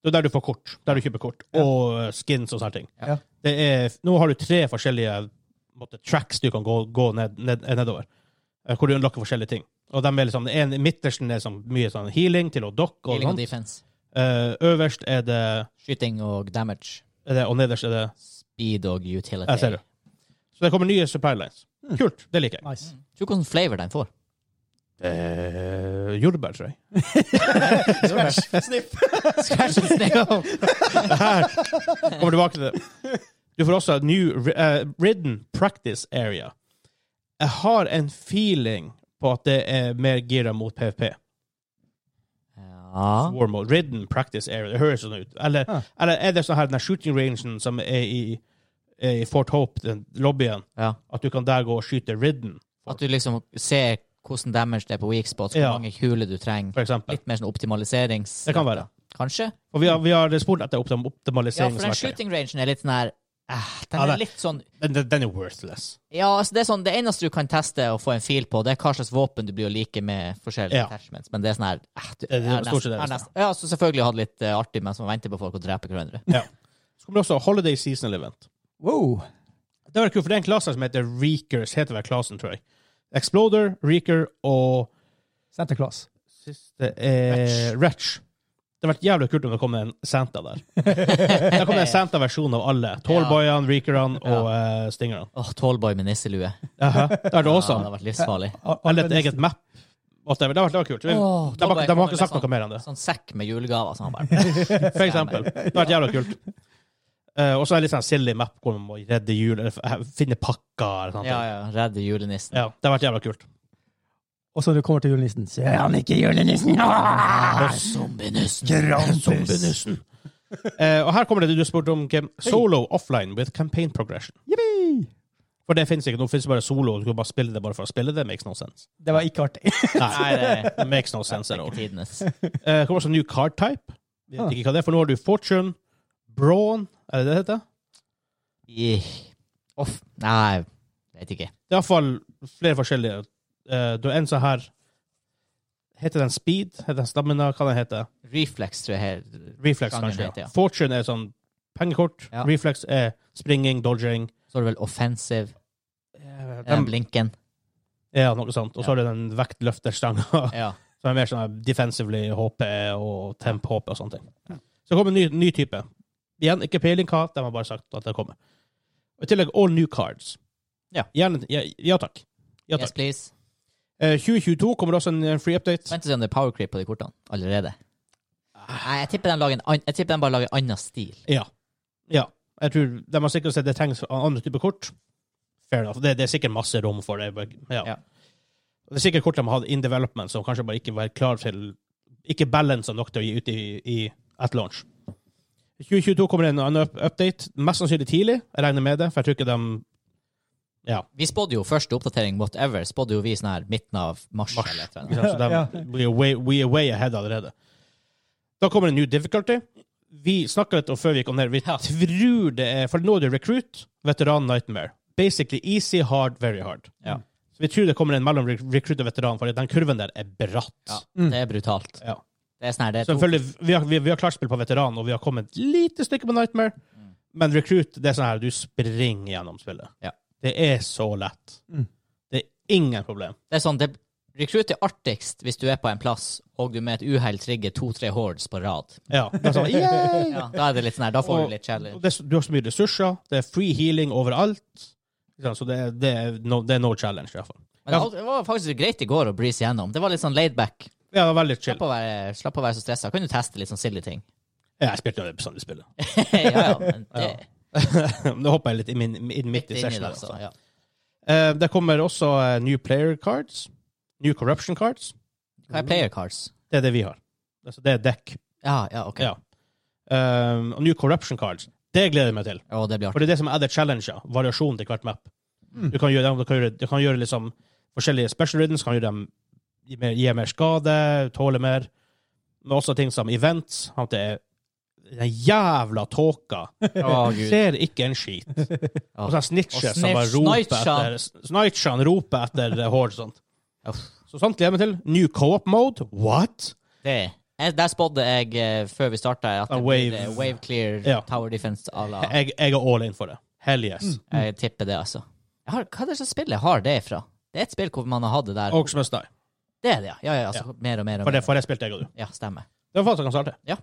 B: Det er der du får kort, der du kjøper kort, og eh, skins og sånne ting.
C: Ja.
B: Det er, nå har du tre forskjellige måtte, tracks du kan gå, gå ned, ned, nedover, eh, hvor du unlocker forskjellige ting. Og dem er liksom, en, Midtersten er sånn, mye sånn healing til å dokke og
A: Healing og
B: sånt.
A: defense.
B: Eh, øverst er det,
A: Skyting og damage.
B: er det, og nederst er det
A: Speed og utility.
B: Jeg ser det. Så det kommer nye supply lines. Kult. Det liker jeg.
C: Nice.
A: Tror du hvordan flavor den får.
B: Eh, jordbær, tror jeg.
C: Snipp.
A: Scratch and sniff.
B: Her. Kommer tilbake til det. Du får også New eh, Ridden Practice Area. Jeg har en feeling på at det er mer gira mot PVP.
A: Ah. Ja.
B: War mode. Ridden Practice Area. Det høres sånn ut. Eller,
C: Ah.
B: eller er det sånn her den her shooting rangen som er i, er i Fort Hope, den lobbyen,
A: ja.
B: at du kan der gå og skyte Ridden,
A: At du liksom ser hvordan damage det er på weak spots, hvor
B: Ja.
A: mange kuler du trenger.
B: for eksempel?
A: Litt mer sånn optimaliserings...
B: Det kan være.
A: Kanskje?
B: Og vi har, vi har spurt etter
A: Ja,
B: optim-
A: for den
B: optimaliseringsverktøy.
A: shooting rangen er litt sånn her eh,
B: Ja,
A: Den
B: det-
A: er litt sånn
B: Den, den, den er worthless.
A: Ja, altså det er sånn Det eneste du kan teste og få en fil på, det er hva slags våpen du blir å like med forskjellige
B: Ja.
A: attachments, men det er sånn her eh, du,
B: Det er
A: jeg har
B: stort sett
A: nesten-
B: det liksom.
A: jeg har
B: det
A: nesten- Ja, så selvfølgelig hatt litt eh, artig mens man venter på folk og dreper hverandre.
B: Ja. Så kommer det også Holiday Seasonal Event.
C: Wow.
B: Det var kult, for det er en klasse som heter Reekers, heter vel klassen, tror jeg. Exploder, Reeker og
C: Santa Claus.
B: siste
A: eh,
B: er Retch. Det hadde vært jævlig kult om det kom en Santa der. Der kom det en Santa-versjon av alle. Tallboyene, Reekerne og eh, Stingerne.
A: Åh, Tallboy med nisselue.
B: Jaha, Det hadde vært
A: Ja, det
B: awesome.
A: har vært livsfarlig.
B: Eller et eget map. Og Det hadde vært- det hadde vært kult.
A: Åh,
B: Vi- de,
A: Tallboy
B: har, ikke- de har
A: kommer
B: ikke
A: med
B: sagt noe mer enn det.
A: Sånn sekk med julegaver, sånn bare
B: For eksempel. Det hadde vært jævlig kult. Eh, og så er det litt sånn silly map hvor man må redde jul, eller f- eh, finne pakker eller sånt.
A: Ja, ja. Redde julenissen.
B: Ja, det hadde vært jævlig kult.
C: Og så når du kommer til julenissen, så er han ikke julenissen! Ah!
A: Zombienissen.
C: Krampus!
B: Eh, og her kommer det du spurte om, Kim. Solo offline with campaign progression.
C: Yippee!
B: For det finnes ikke. Nå finnes det bare solo, og du kan bare spille det bare for å spille det. Makes no sense.
C: Det var ikke artig.
A: Nei, det
B: Det makes no sense
A: er
B: at all.
A: ikke tidenes.
B: Eh, kommer også en ny card type. Jeg vet ikke hva det er, for nå har du Fortune, Brawn Er det det det heter?
A: Ih. Off. Nei, vet ikke.
B: Det er iallfall flere forskjellige. Eh, du har en sånn her Heter den Speed? Heter den Stamina? Hva den heter
A: Reflex, tror jeg. her.
B: Reflex,
A: Gangen
B: kanskje.
A: heter, ja.
B: Ja. Fortune er sånn pengekort.
A: Ja.
B: Reflex er springing, dodging.
A: Så er det vel offensive.
B: Eh,
A: Den
B: dem-
A: blinken.
B: Ja, noe sånt. Og så har du den vektløfterstanga.
A: Ja.
B: Som er mer sånn her defensively HP og temp HP og sånne ting. Så kommer en ny, ny type. Igjen, ikke peiling hva, de har bare sagt at det kommer. Og I tillegg all new cards.
A: Ja.
B: Gjerne, ja, ja takk. Ja
A: Yes,
B: takk.
A: please.
B: Eh, 2022 kommer det også en, en free update.
A: Vent og se om det er power creep på de kortene allerede. Nei, jeg tipper den, lager en an jeg tipper den bare lager en annen stil.
B: Ja. ja. Jeg tror de har sikkert sett det trengs andre typer kort. Fair enough. Det, det er sikkert masse rom for det. men- Ja.
A: Ja.
B: Det er sikkert kort de har hatt in development, som kanskje bare ikke var klar til Ikke balansa nok til å gi ut i, i at launch. I 2022 kommer det en annen up- update. Mest sannsynlig tidlig. Jeg regner med det, for jeg tror ikke de Ja.
A: Vi spådde jo første oppdatering, whatever, spådde jo vi sånn her midten av mars. Eller et eller annet.
B: Ikke sant? Så de
C: Ja.
B: we are way, we are way ahead allerede. Da kommer det en new difficulty. Vi snakka litt om før vi kom ned. Vi tror det er For nå er det recruit, veteran, nightmare. Basically easy, hard, very hard.
A: Ja.
B: Så vi tror det kommer en mellom rec- recruit og veteran, for den kurven der er bratt.
A: Mm. Ja, det er brutalt.
B: Ja.
A: Det er sånn her, det er to.
B: Selvfølgelig, vi har, vi, vi har klarspill på veteran, og vi har kommet et lite stykke på Nightmare.
C: Mm.
B: Men Recruit, det er sånn her, du springer gjennom spillet.
A: Ja.
B: Det er så lett.
C: Mm.
B: Det er ingen problem.
A: Det er sånn, det, Recruit er artigst hvis du er på en plass og du med et uhell trigger to-tre hordes på rad.
B: Ja, det er sånn, yay!
A: Ja, da er det litt sånn her, da får du litt
B: Og
A: challenge.
B: det, er så- du har så mye ressurser, det er free healing overalt. Ikke sant? Så det, er- det, er no, det er no challenge, i hvert fall.
A: Men det var- det var faktisk greit i går å breeze gjennom. Det var litt sånn laidback.
B: Ja, det er veldig chill.
A: Slapp å være, slapp å være så stressa. Kunne teste litt sånn silly ting.
B: Ja, Jeg spilte jo bestandig spillet.
A: ja, ja, men det
B: Nå hopper jeg litt inn, inn midt
A: det
B: i
A: er inni det,
B: sessionen.
A: altså.
B: Altså.
A: Ja.
B: Eh, det kommer også eh, new player cards. New corruption cards.
A: Hva er player cards?
B: Det er det vi har. Altså, det er dekk.
A: Ja, ja, ok.
B: Ja. Eh, og new corruption cards. Det gleder jeg meg til.
A: Å, det blir artig.
B: For det er det som er added challenger. Variasjon til hvert map.
C: Mm.
B: Du kan gjøre, du kan gjøre, du kan gjøre liksom forskjellige special riddens, kan gjøre dem gi mer, gi mer skade, tåle mer. Men også ting som events. At det er den jævla tåka.
A: Å, Gud.
B: Ser ikke en skit.
A: Ja.
B: Og sånn snitcher
A: Og
B: som bare
A: snitch-
B: roper
A: snitchene.
B: etter Snitchene roper etter eh, hår og sånt.
A: Uff.
B: Så sånt gleder jeg meg til. New co-op mode. What?
A: Det jeg, Der spådde jeg eh, før vi starta at
B: A
A: det blir
B: wave.
A: eh, wave clear
B: Ja.
A: tower defense à la
B: Jeg, jeg er all in for det. Hell yes.
A: Jeg tipper det, altså. Jeg har, hva er det som spillet jeg har det fra? Det er et spill hvor man har hatt det der.
B: Og som jeg sa,
A: Det er det, ja. ja, ja altså, Mer og mer og
B: Oh. For det,
A: mer.
B: for det spilte jeg og du.
A: Ja, stemmer.
B: Det var faktisk ganske artig.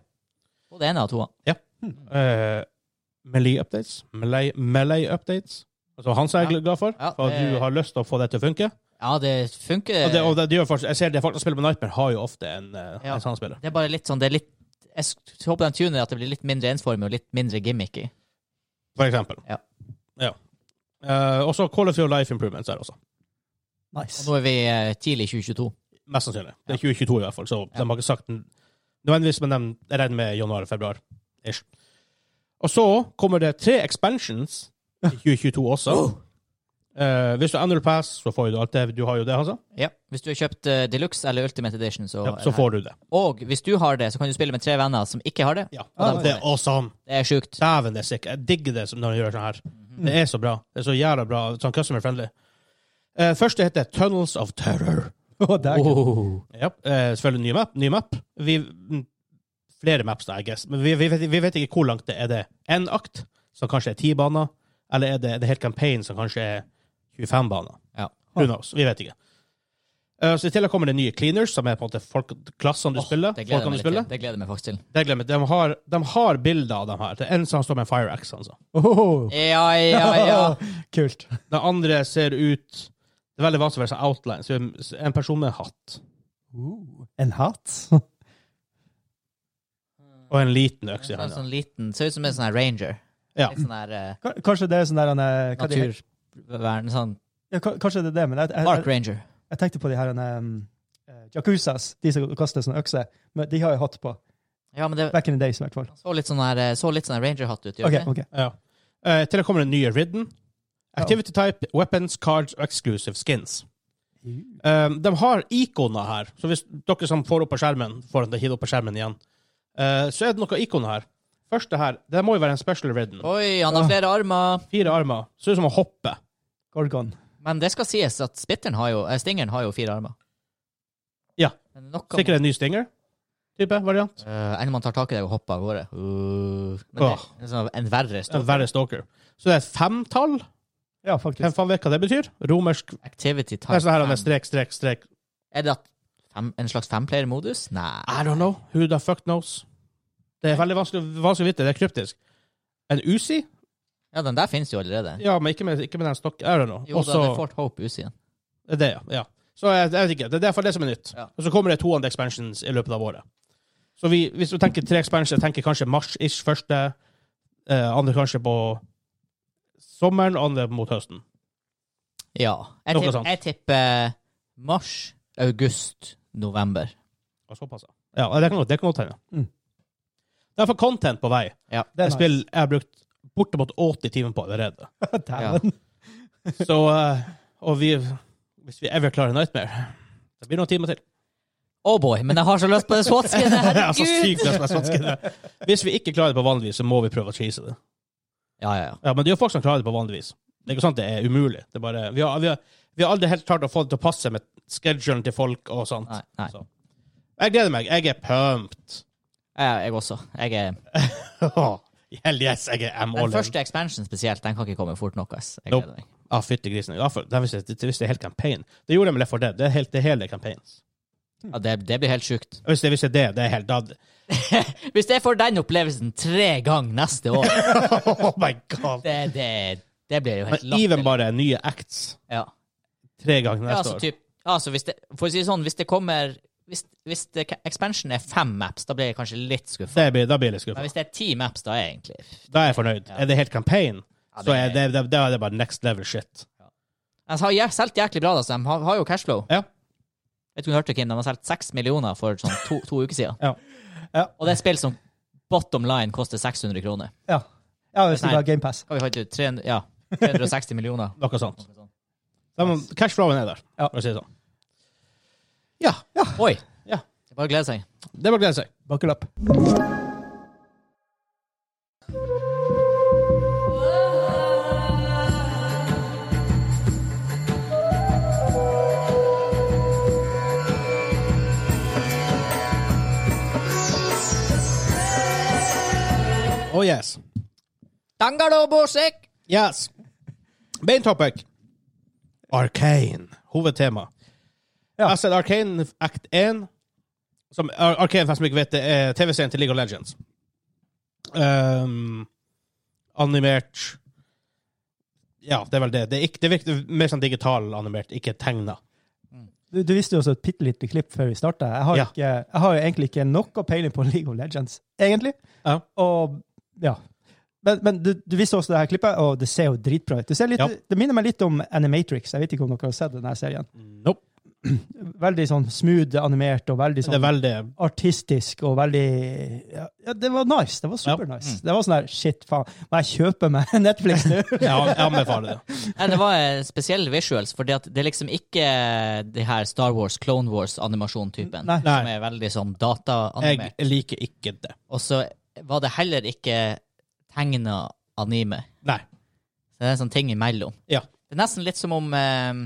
A: Og det ene av to.
B: Eh, Melee-updates. Melee- Melee-updates. altså han som jeg er glad for,
A: Ja,
B: for at
A: det-
B: du har lyst til å få det til å funke.
A: Ja, det funker.
B: Og det, og det, det gjør faktisk, jeg ser det folk som spiller med Nightmare, har jo ofte en, eh,
A: Ja.
B: en sånn spiller.
A: Det er bare litt sånn det er litt, Jeg sk- håper den tuner at det blir litt mindre ensformig og litt mindre gimmicky.
B: For eksempel.
A: Ja.
B: Ja. Eh, også Call of Your Life Improvements her også.
A: Og
C: Nice.
A: nå er vi eh, tidlig i 2022.
B: Mest sannsynlig. Det er 2022 i hvert fall, så de har ikke sagt den- nødvendigvis, men de jeg regner med januar-februar. Ish. Og så kommer det tre expansions i 2022 også. Eh, hvis du annual pass, så får du alt det. Du har jo det, altså.
A: Ja. Hvis du har kjøpt uh, Deluxe eller Ultimate Edition, så,
B: Ja, så får du det.
A: Og hvis du har det, så kan du spille med tre venner som ikke har det.
B: Ja.
A: Ah,
B: det er awesome.
A: Det er sjukt.
B: sånn. Dæven, det er sikkert. Jeg digger det som- når de gjør sånn her.
A: Mhm.
B: Det er så bra. Det er så jævla bra. Sånn customer friendly. Eh, første heter Tunnels of Terror.
C: Å, dæken.
A: Oh.
B: Ja, eh, selvfølgelig nye map. Nye map. Vi, mm, flere maps, da, I guess. Men vi, vi, vet, vi vet ikke hvor langt det er. Er det én akt, som kanskje er ti baner, eller er det, er det helt campaign, som kanskje er 25 baner?
A: Ja.
B: Who knows? Vi vet ikke. Eh, så I tillegg kommer det nye cleaners, som er på en måte folk, klassene du spiller.
A: Det gleder jeg meg
B: folkene du
A: litt til.
B: spiller.
A: Det gleder jeg meg faktisk til.
B: Det glemmer jeg. De har, de har bilder av dem her. Det er en som står med en fire axe. Altså.
C: Åhå.
A: Ja, ja, ja.
C: Kult.
B: Den andre ser ut Det er veldig vanskelig å være sånn outline. Så en person med en hatt
C: En hatt?
B: og en liten øks i
A: Sånn,
B: hånda.
A: sånn liten, ser ut som en sånn her ranger.
B: Ja.
A: Litt sånn her eh,
C: K- Kanskje det er sånn der han er- hva de-
A: naturvern... Sånn
C: Ja, ka- kanskje det er det, men jeg, jeg,
A: Ark Ranger.
C: Jeg tenkte på de her um, eh, Yakuzas, de som kaster sånne økser. Men de har jeg hatt på.
A: Ja, men det
C: Back in the days, i hvert fall.
A: så litt sånn her eh, Så litt sånn her Ranger-hatt ut. gjør
C: Ok,
A: det ikke?
C: ok.
B: Ja. Eh, til det kommer den nye ridden. Activity type, weapons, cards og exclusive skins. Um, de har ikoner her, så hvis dere som får opp på skjermen, får det hivet opp på skjermen igjen, eh, så er det noen ikoner her. Første her, det må jo være en special ridden.
A: Oi, han har flere armer!
B: Fire armer. Ser ut som å hoppe.
C: Gorgon.
A: Men det skal sies at spitteren har jo eh, Stingeren har jo fire armer.
B: Ja.
A: Men nok om
B: Sikkert en ny stinger. Type variant.
A: Eh, enn om man tar tak i deg og hopper av gårde. Uh, men det,
B: Åh.
A: det er sånn en verre
B: En
A: stor
B: verre stalker. Så det er et femtall.
C: Ja, faktisk.
B: Hvem faen vet hva det betyr? Romersk
A: activity
B: Det
A: type.
B: er sånn her han
A: fem.
B: er strek, strek, strek.
A: Er det at fem, en slags femplayer-modus? Nei.
B: I don't know. Who the fuck knows? Det er veldig vanskelig, vanskelig å vite. Det er kryptisk. En Uzi?
A: Ja, den der finnes jo allerede.
B: Ja, men ikke med, ikke med den stokken. I don't know.
A: Jo, da, det er
B: Også,
A: Fort Hope Usien.
B: det, ja, ja. Så jeg, jeg vet ikke. Det er derfor det som er nytt.
A: Ja.
B: Og så kommer det 200 expansions i løpet av året. Så vi, hvis du tenker tre expansions, jeg tenker kanskje mars-ish første, eh, andre kanskje på sommeren, andre mot høsten.
A: Ja. Jeg,
B: Noe
A: tipp,
B: sånt.
A: jeg tipper mars, august, november.
B: Og såpass, ja. Ja, det kan godt det kan godt hende.
C: Mm.
B: Det er for content på vei.
A: Ja.
C: Det
B: Et
C: er
B: spill jeg har brukt bortimot 80 timer på allerede.
C: nice. Dæven.
B: Så eh, Og vi Hvis vi ever klarer Nightmare Det blir noen timer til.
A: Oh boy, men jeg har så lyst på det SWAT-skinnet!
B: Det er så
A: Herregud!
B: sykt det som er vanskelig. Hvis vi ikke klarer det på vanlig vis, så må vi prøve å cheese det.
A: Ja, ja, ja.
B: Ja, Men det er jo folk som klarer det på vanlig vis. Det er ikke sant det er umulig. Det er bare, vi, har, vi, har, vi har aldri helt klart å få det til å passe med schedulen til folk og sånt.
A: Nei, nei.
B: Så. Jeg gleder meg. Jeg er pumped.
A: Eh, jeg også. Jeg er,
B: Hell yes, jeg er I'm all
A: den
B: in.
A: første expansion spesielt, den kan ikke komme fort nok. Ass. Jeg
B: Nope.
A: gleder meg.
B: Ah, fytti grisen. Ja, for, det, visste, det visste jeg helt campaign. Det gjorde jeg med Left 4 Dead. Det er helt, det er hele campaign.
A: Ja, det, det blir helt sjukt.
B: Hvis jeg visste det, det er helt da,
A: Hvis jeg får den opplevelsen tre ganger neste år,
B: Oh my god.
A: det, det, det blir jo helt
B: Men even
A: latterlig.
B: bare er nye acts
A: Ja.
B: tre ganger
A: Ja,
B: neste
A: altså,
B: år.
A: typ, altså, hvis det, for å si det sånn, hvis det kommer Hvis, hvis det, expansion er fem maps, da blir jeg kanskje litt skuffa.
B: Det blir, da blir jeg litt
A: Men
B: skuffa.
A: hvis det er ti maps, da er jeg egentlig
B: Da er jeg fornøyd.
A: Ja.
B: Er det helt campaign,
A: Ja,
B: så
A: det
B: er
A: er-
B: det, det, da er det bare next level shit.
A: De Altså, har jæ- solgt jæklig bra, da, så de har, har jo cashflow.
B: Ja.
A: Vet du om du hørte, Kim? De har solgt seks millioner for sånn to, to uker siden.
B: Ja.
C: Ja.
A: Og det er et spill som bottom line koster 600 kroner.
C: Ja. ja hvis du
A: Nei.
C: har GamePass.
A: Hva vi fant ut? 300, ja, 360 millioner.
B: Noe sånt.
A: Noe sånt.
B: Da må- Cashflowen er der,
C: Ja.
B: for å si det sånn. Ja.
A: Oi!
B: Ja.
A: Det er bare å glede seg.
B: Det må glede seg.
C: Buckle up.
B: Oh yes.
A: Dangalo Borsek!
B: Yes. Main topic. Arcane. Hovedtema.
C: Ja.
B: Jeg har sett Arcane Act 1. Som Ar- Arcane, for dem som ikke vet det, er TV-serien til League of Legends. Ehm, animert Ja, det er vel det. Det er, ikke, det virker mer sånn digital animert, ikke tegna.
C: Du, du visste jo også et bitte lite klipp før vi starta. Jeg, har
B: Ja.
C: ikke- jeg har jo egentlig ikke noe peiling på League of Legends, egentlig.
B: Ja.
C: Og ja. Men, men du, du visste også det her klippet, og det ser jo dritbra ut. Det, ser litt,
B: Ja.
C: det minner meg litt om Animatrix. Jeg vet ikke om dere har sett denne serien.
B: Nope.
C: Veldig sånn smooth animert og veldig
B: Mm. Det er
C: sånn
B: veldig
C: artistisk og veldig ja, ja, det var nice. Det var super nice.
B: Mm.
C: Det var sånn her shit, faen, må jeg kjøpe meg Netflix nå?
B: Ja, jeg anbefaler det.
A: Nei, det var eh, spesielle visuals, fordi at det er liksom ikke det her Star Wars, Clone Wars-animasjon-typen.
C: Nei.
A: Som
B: Nei,
A: er veldig sånn
B: jeg
A: dataanimert.
B: liker ikke det.
A: Og så var det heller ikke tegna anime.
B: Nei.
A: Så det er en sånn ting imellom.
B: Ja.
A: Det er nesten litt som om eh,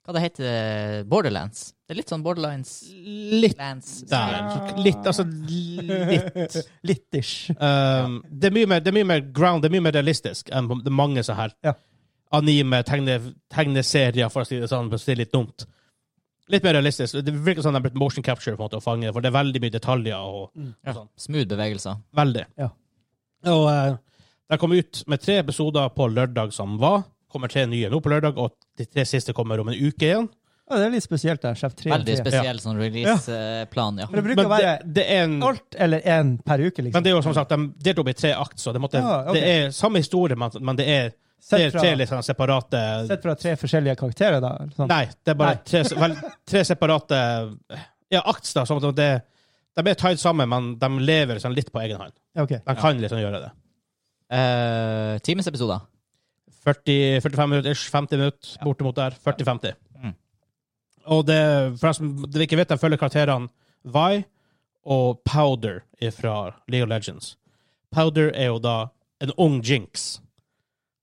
A: Hva det heter det? Borderlands. Det er litt sånn Borderlands
B: Litt
A: Lands.
B: der. Litt, altså litt.
C: Littish.
B: Um, det, er mye mer, det er mye mer ground, det er mye mer realistisk enn på- det er mange sånne her
C: Ja.
B: anime, tegne, tegneserier, for å si det sånn, for å si det litt dumt. Litt mer realistisk. Det virker som de har brukt motion capture på en måte, å fange, for det er veldig mye detaljer. og sånn.
A: Ja. Smooth bevegelser.
B: Veldig.
C: Mm. Ja.
B: Og eh, de kom ut med tre episoder på lørdag som var. Kommer tre nye nå på lørdag, og de tre siste kommer om en uke igjen.
C: Ja, det er litt spesielt der, Sjef 3.
A: Veldig spesiell sånn release-plan, ja.
C: Men
B: Men
C: det bruker å være
B: det, det er en,
C: alt eller én per uke,
B: men
C: liksom.
B: det er jo som sagt, de delte opp i tre akt, så det, måtte,
C: Ja, ok.
B: det er samme historie, men, men det er det
C: Sett
B: er tre
C: fra,
B: litt sånn separate
C: sett fra tre forskjellige karakterer, da. eller Sånn.
B: Nei, det er bare
C: Nei.
B: tre, vel, tre separate ja, akts. da, sånn at det, De er tied sammen, men de lever liksom litt på egen hånd.
C: Ja, ok.
B: De kan liksom gjøre det.
A: Eh, Timesepisoder.
B: 40, 45 minutter, ish, 50 minutter, bortimot der. 40-50.
A: Mm.
B: Og det, for dem som dere ikke vet, de følger karakterene Vi og Powder fra League of Legends. Powder er jo da en ung Jinx.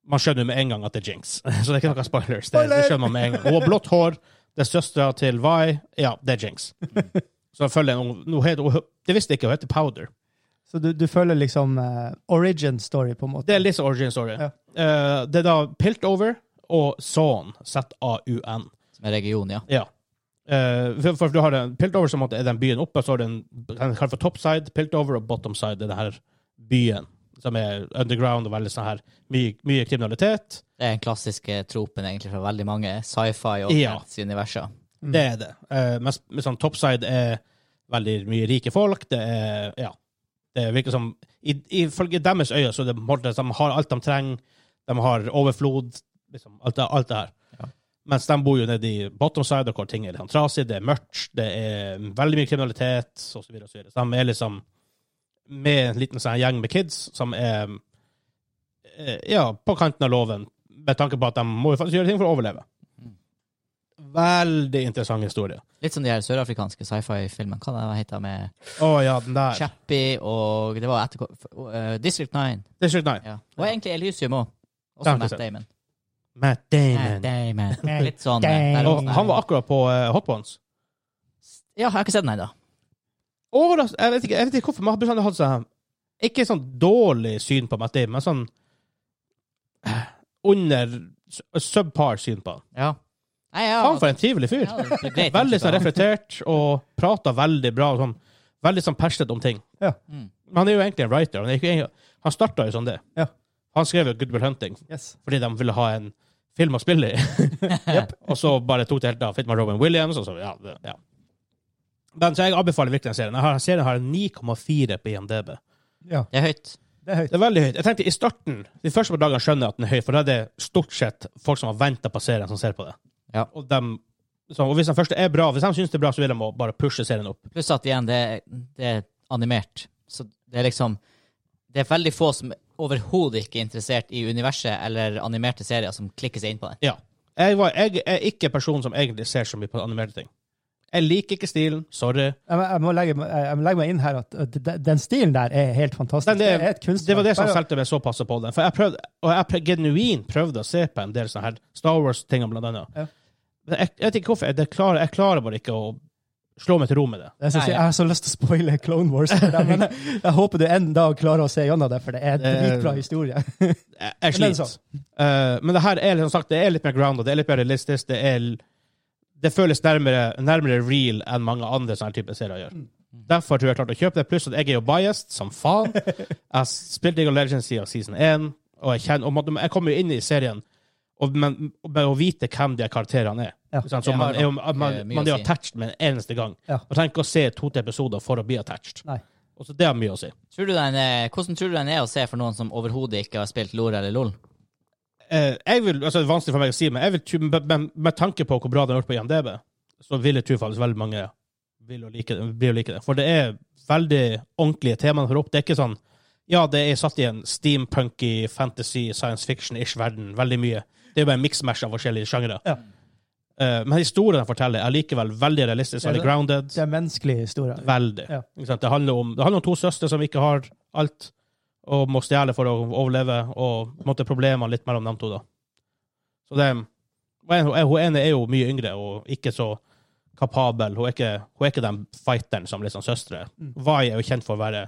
B: Man skjønner jo med en gang at det er Jinx, så det er ikke noen spoilers. Det, det skjønner man med en gang. Hun har blått hår, det er søstera til Vi. Ja, det er Jinx. Så jeg følger en ung nå heter hun- Det visste jeg ikke, hun heter Powder.
C: Så du, du følger liksom eh, origin story, på en måte?
B: Det er litt origin story.
C: Ja.
B: Eh, det er da Piltover og Zaun, Z-A-U-N.
A: Som er region, ja.
B: Ja. Eh, for, for du har en Piltover som er den byen oppe, så har du en den kalles for topside, Piltover og bottomside er den her byen, som er underground og veldig sånn her mye, mye kriminalitet.
A: Det er den klassiske tropen egentlig fra veldig mange sci-fi og
B: Ja.
A: fantasy-universer.
B: Det er det. Eh, mens mens sånn topside er veldig mye rike folk. Det er Ja. Det virker som i- Ifølge deres øyne så er det på en måte at de har alt de trenger. De har overflod. Liksom, alt, det, alt det her. Mens de bor jo nede i bottomside, hvor ting er litt sånn trasig, det er mørkt, det er veldig mye kriminalitet, osv. Så, videre, og så, videre. så de er liksom med en liten sånn gjeng med kids som er eh, ja, på kanten av loven, med tanke på at de må jo faktisk gjøre ting for å overleve. Veldig interessant historie.
A: Litt som de her sørafrikanske sci-fi-filmene. Hva det heter med
B: Å ja, den der.
A: Chappie og Det var etter eh, District 9.
B: District 9.
A: Ja. Og egentlig Elysium òg.
B: Det
A: Også
B: har jeg
A: Matt
B: ikke
A: Damon.
B: Matt
A: Matt
B: Damon.
A: Damon. Litt sånn eh,
C: Damon.
A: der
B: Og
A: også.
B: han var akkurat på eh, Hot Ones.
A: Ja, jeg har ikke sett den ennå.
B: Overras- jeg, vet ikke, jeg vet ikke hvorfor, men jeg har bestandig hatt sånn Ikke sånn dårlig syn på Matt Damon, men sånn eh, under s- eh, subpar syn på han.
A: Ja. Nei, ja.
B: Faen, for en trivelig fyr.
A: Ja, det er greit,
B: Veldig
A: tenker
B: sånn
A: jeg.
B: reflektert og prater veldig bra. og Sånn, veldig sånn passionate om ting.
C: Ja.
A: Mm.
B: Men han er jo egentlig en writer. Han, er ikke en- han starta jo sånn det.
C: Ja.
B: Han skrev jo Good Will Hunting
C: Yes.
B: fordi de ville ha en film å spille i. Og så bare tok det helt av. Fikk meg Robin Williams. Og så, ja, det, ja. Men, så jeg anbefaler virkelig den serien. Jeg har, serien har en 9,4 på IMDb.
C: Ja,
A: Det er høyt.
C: det er høyt.
B: Det er veldig høyt. Jeg tenkte i starten, De første par dagene skjønner jeg at den er høy, for da er det stort sett folk som har venta på serien, som ser på det.
A: Ja.
B: Og, dem, så, og hvis den første er bra, hvis de syns det er bra, så vil de må bare pushe serien opp.
A: Pluss at igjen, det, er- det er animert. Så det er liksom Det er veldig få som overhodet ikke er interessert i universet eller animerte serier, som klikker seg inn på det.
B: Ja. Jeg, var, jeg er ikke personen som egentlig ser så mye på animerte ting. Jeg liker ikke stilen. Sorry.
C: Jeg, må- jeg, må legge, jeg må legge meg inn her at at de- den stilen der er helt fantastisk.
B: Den, det,
C: det er et kunstverk.
B: det var det som
C: Bare-
B: solgte meg såpass på den. For jeg prøvde, og jeg prøvde, genuint prøvde å se på en del sånne her Star Wars-ting, blant annet.
C: Ja.
B: Men Jeg, jeg vet ikke hvorfor. Jeg, det klarer, jeg klarer bare ikke å slå meg til ro med det.
C: Jeg, synes,
A: Nei,
C: jeg har så lyst til å spoile Clone Wars, for deg, men jeg, jeg håper du en dag klarer å se gjennom det, for det er en
B: Det-
C: dritbra historie.
B: Jeg, jeg
C: Men det er
B: sliter.
C: sånn.
B: Eh, men det her er liksom sagt, det er litt mer grounded, det er litt mer realistisk. Det, er, det føles nærmere, nærmere real enn mange andre sånne her type serier gjør. Derfor tror jeg jeg klarte å kjøpe det. Pluss at jeg er jo biased som faen. Jeg spilte League of Legends siden season 1, og jeg, kjenner, og måtte- jeg kommer jo inn i serien og, men, og med å vite hvem de karakterene er.
C: Ja.
B: Ikke sant? så
A: Det har
B: man, er jo,
A: nok,
B: man,
A: eh, mye
B: man
A: å
B: er jo
A: si.
B: attached med en eneste gang.
C: Ja.
B: Man trenger ikke å se to-tre episoder for å bli attached.
C: Nei.
B: Og så det har mye å si.
A: Tror du den, er- hvordan tror du den er å se for noen som overhodet ikke har spilt LOR eller LOL?
B: Eh, jeg vil, altså Det er vanskelig for meg å si, men jeg vil, tro- med, med, med tanke på hvor bra den har gjort på IMDb, så vil jeg tro faktisk veldig mange vil å like det, blir å like det. For det er veldig ordentlige temaer for opp. Det er ikke sånn Ja, det er satt i en steampunky, fantasy, science fiction-ish verden. Veldig mye. Det er bare en mix-mash av forskjellige sjangere.
C: Ja.
B: Eh, men historien den forteller, er likevel veldig realistisk,
C: Det er
B: veldig grounded.
C: Det er menneskelig historie.
B: Veldig.
C: Ja.
B: Ikke sant? Det, handler om, det handler om to søstre som ikke har alt, og må stjele for å overleve, og på en måte problemer litt mellom dem to. da. Så det, og en- og Hun ene er jo mye yngre og ikke så kapabel. Hun er ikke, hun er ikke den fighteren som liksom søstre er.
C: Mm.
B: Vai er jo kjent for å være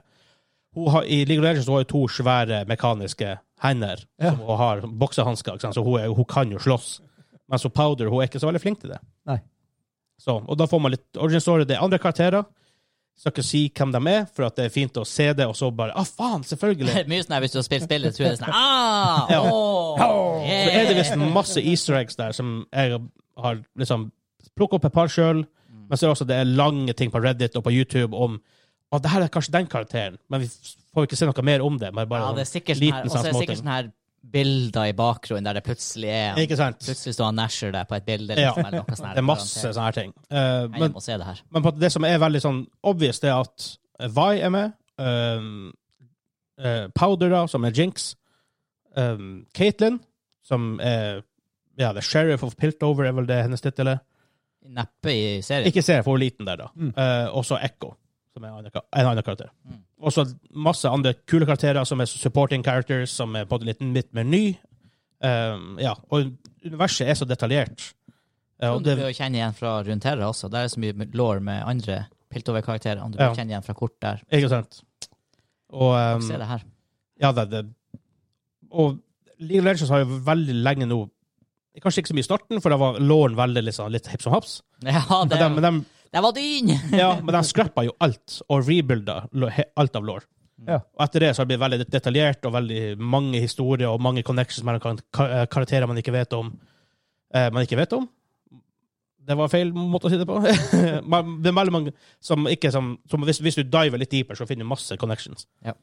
B: hun har, I League of Legends hun har hun to svære mekaniske hender
C: Ja.
B: som hun har som boksehansker, ikke sant? så hun, er, jo- hun kan jo slåss. Mens hun Powder hun er ikke så veldig flink til det.
C: Nei.
B: Så, og da får man litt origin story. Det er andre karakterer. Skal ikke si hvem de er, for at det er fint å se det, og så bare Ah, faen! Selvfølgelig!
A: Mye sånn her hvis du har spilt spillet, tror jeg det er sånn ah,
B: Ja.
A: åh,
B: Så er det
A: yeah.
B: visst masse easter eggs der som jeg har liksom plukket opp et par sjøl.
A: Mm.
B: Men så er det også det er lange ting på Reddit og på YouTube om at det her er kanskje den karakteren, men vi får ikke se noe mer om det. Men bare
A: Ja, det er
B: sånn
A: sikkert sånn her,
B: liten
A: og så er det
B: sånn
A: sikkert
B: småting.
A: sånn her bilder i bakgrunnen der det plutselig er han.
B: Ikke sant?
A: Plutselig står han Nasher der på et bilde.
B: Ja.
A: Liksom, eller noe sånt her.
B: Det er masse sånne her ting. Eh,
A: Nei,
B: men
A: Jeg må se det her.
B: Men på det som er veldig sånn obvious, det er at eh, Vi er med. Um, eh, Powder, da, som er Jinx. Um, Caitlyn, som er ja, The Sheriff of Piltover, er vel det hennes tittel er.
A: Neppe i serien.
B: Ikke ser for hun er liten der, da.
C: Mm.
B: Eh, og så Echo, som er en annen, ka- en annen karakter.
A: Mm.
B: Og så masse andre kule karakterer som er supporting characters, som er på en liten litt mer ny. Um, ja, og universet er så detaljert. Eh, og
A: Som du
B: det,
A: bør jo kjenne igjen fra Runeterra også. Der er så mye lore med andre Piltover-karakterer. Du bør
B: Ja.
A: kjenne igjen fra kort der.
B: ikke sant? Og um,
A: Se det her.
B: Ja, det, det. Og League of Legends har jo veldig lenge nå Kanskje ikke så mye i starten, for da var låren veldig litt sånn- litt hipp som haps.
A: Ja,
B: Men
A: det,
B: de, men de,
A: det var dyn!
B: ja, men de scrappa jo alt, og rebuilda lo- he- alt av lår.
C: Ja.
B: Og etter det så har det blitt veldig detaljert, og veldig mange historier og mange connections mellom kar- kar- eh, karakterer man ikke vet om. Eh, man ikke vet om. Det var feil måte å si det på. Man- det er veldig mange som ikke som, som hvis, hvis du diver litt deeper, så finner du masse connections.
A: Ja.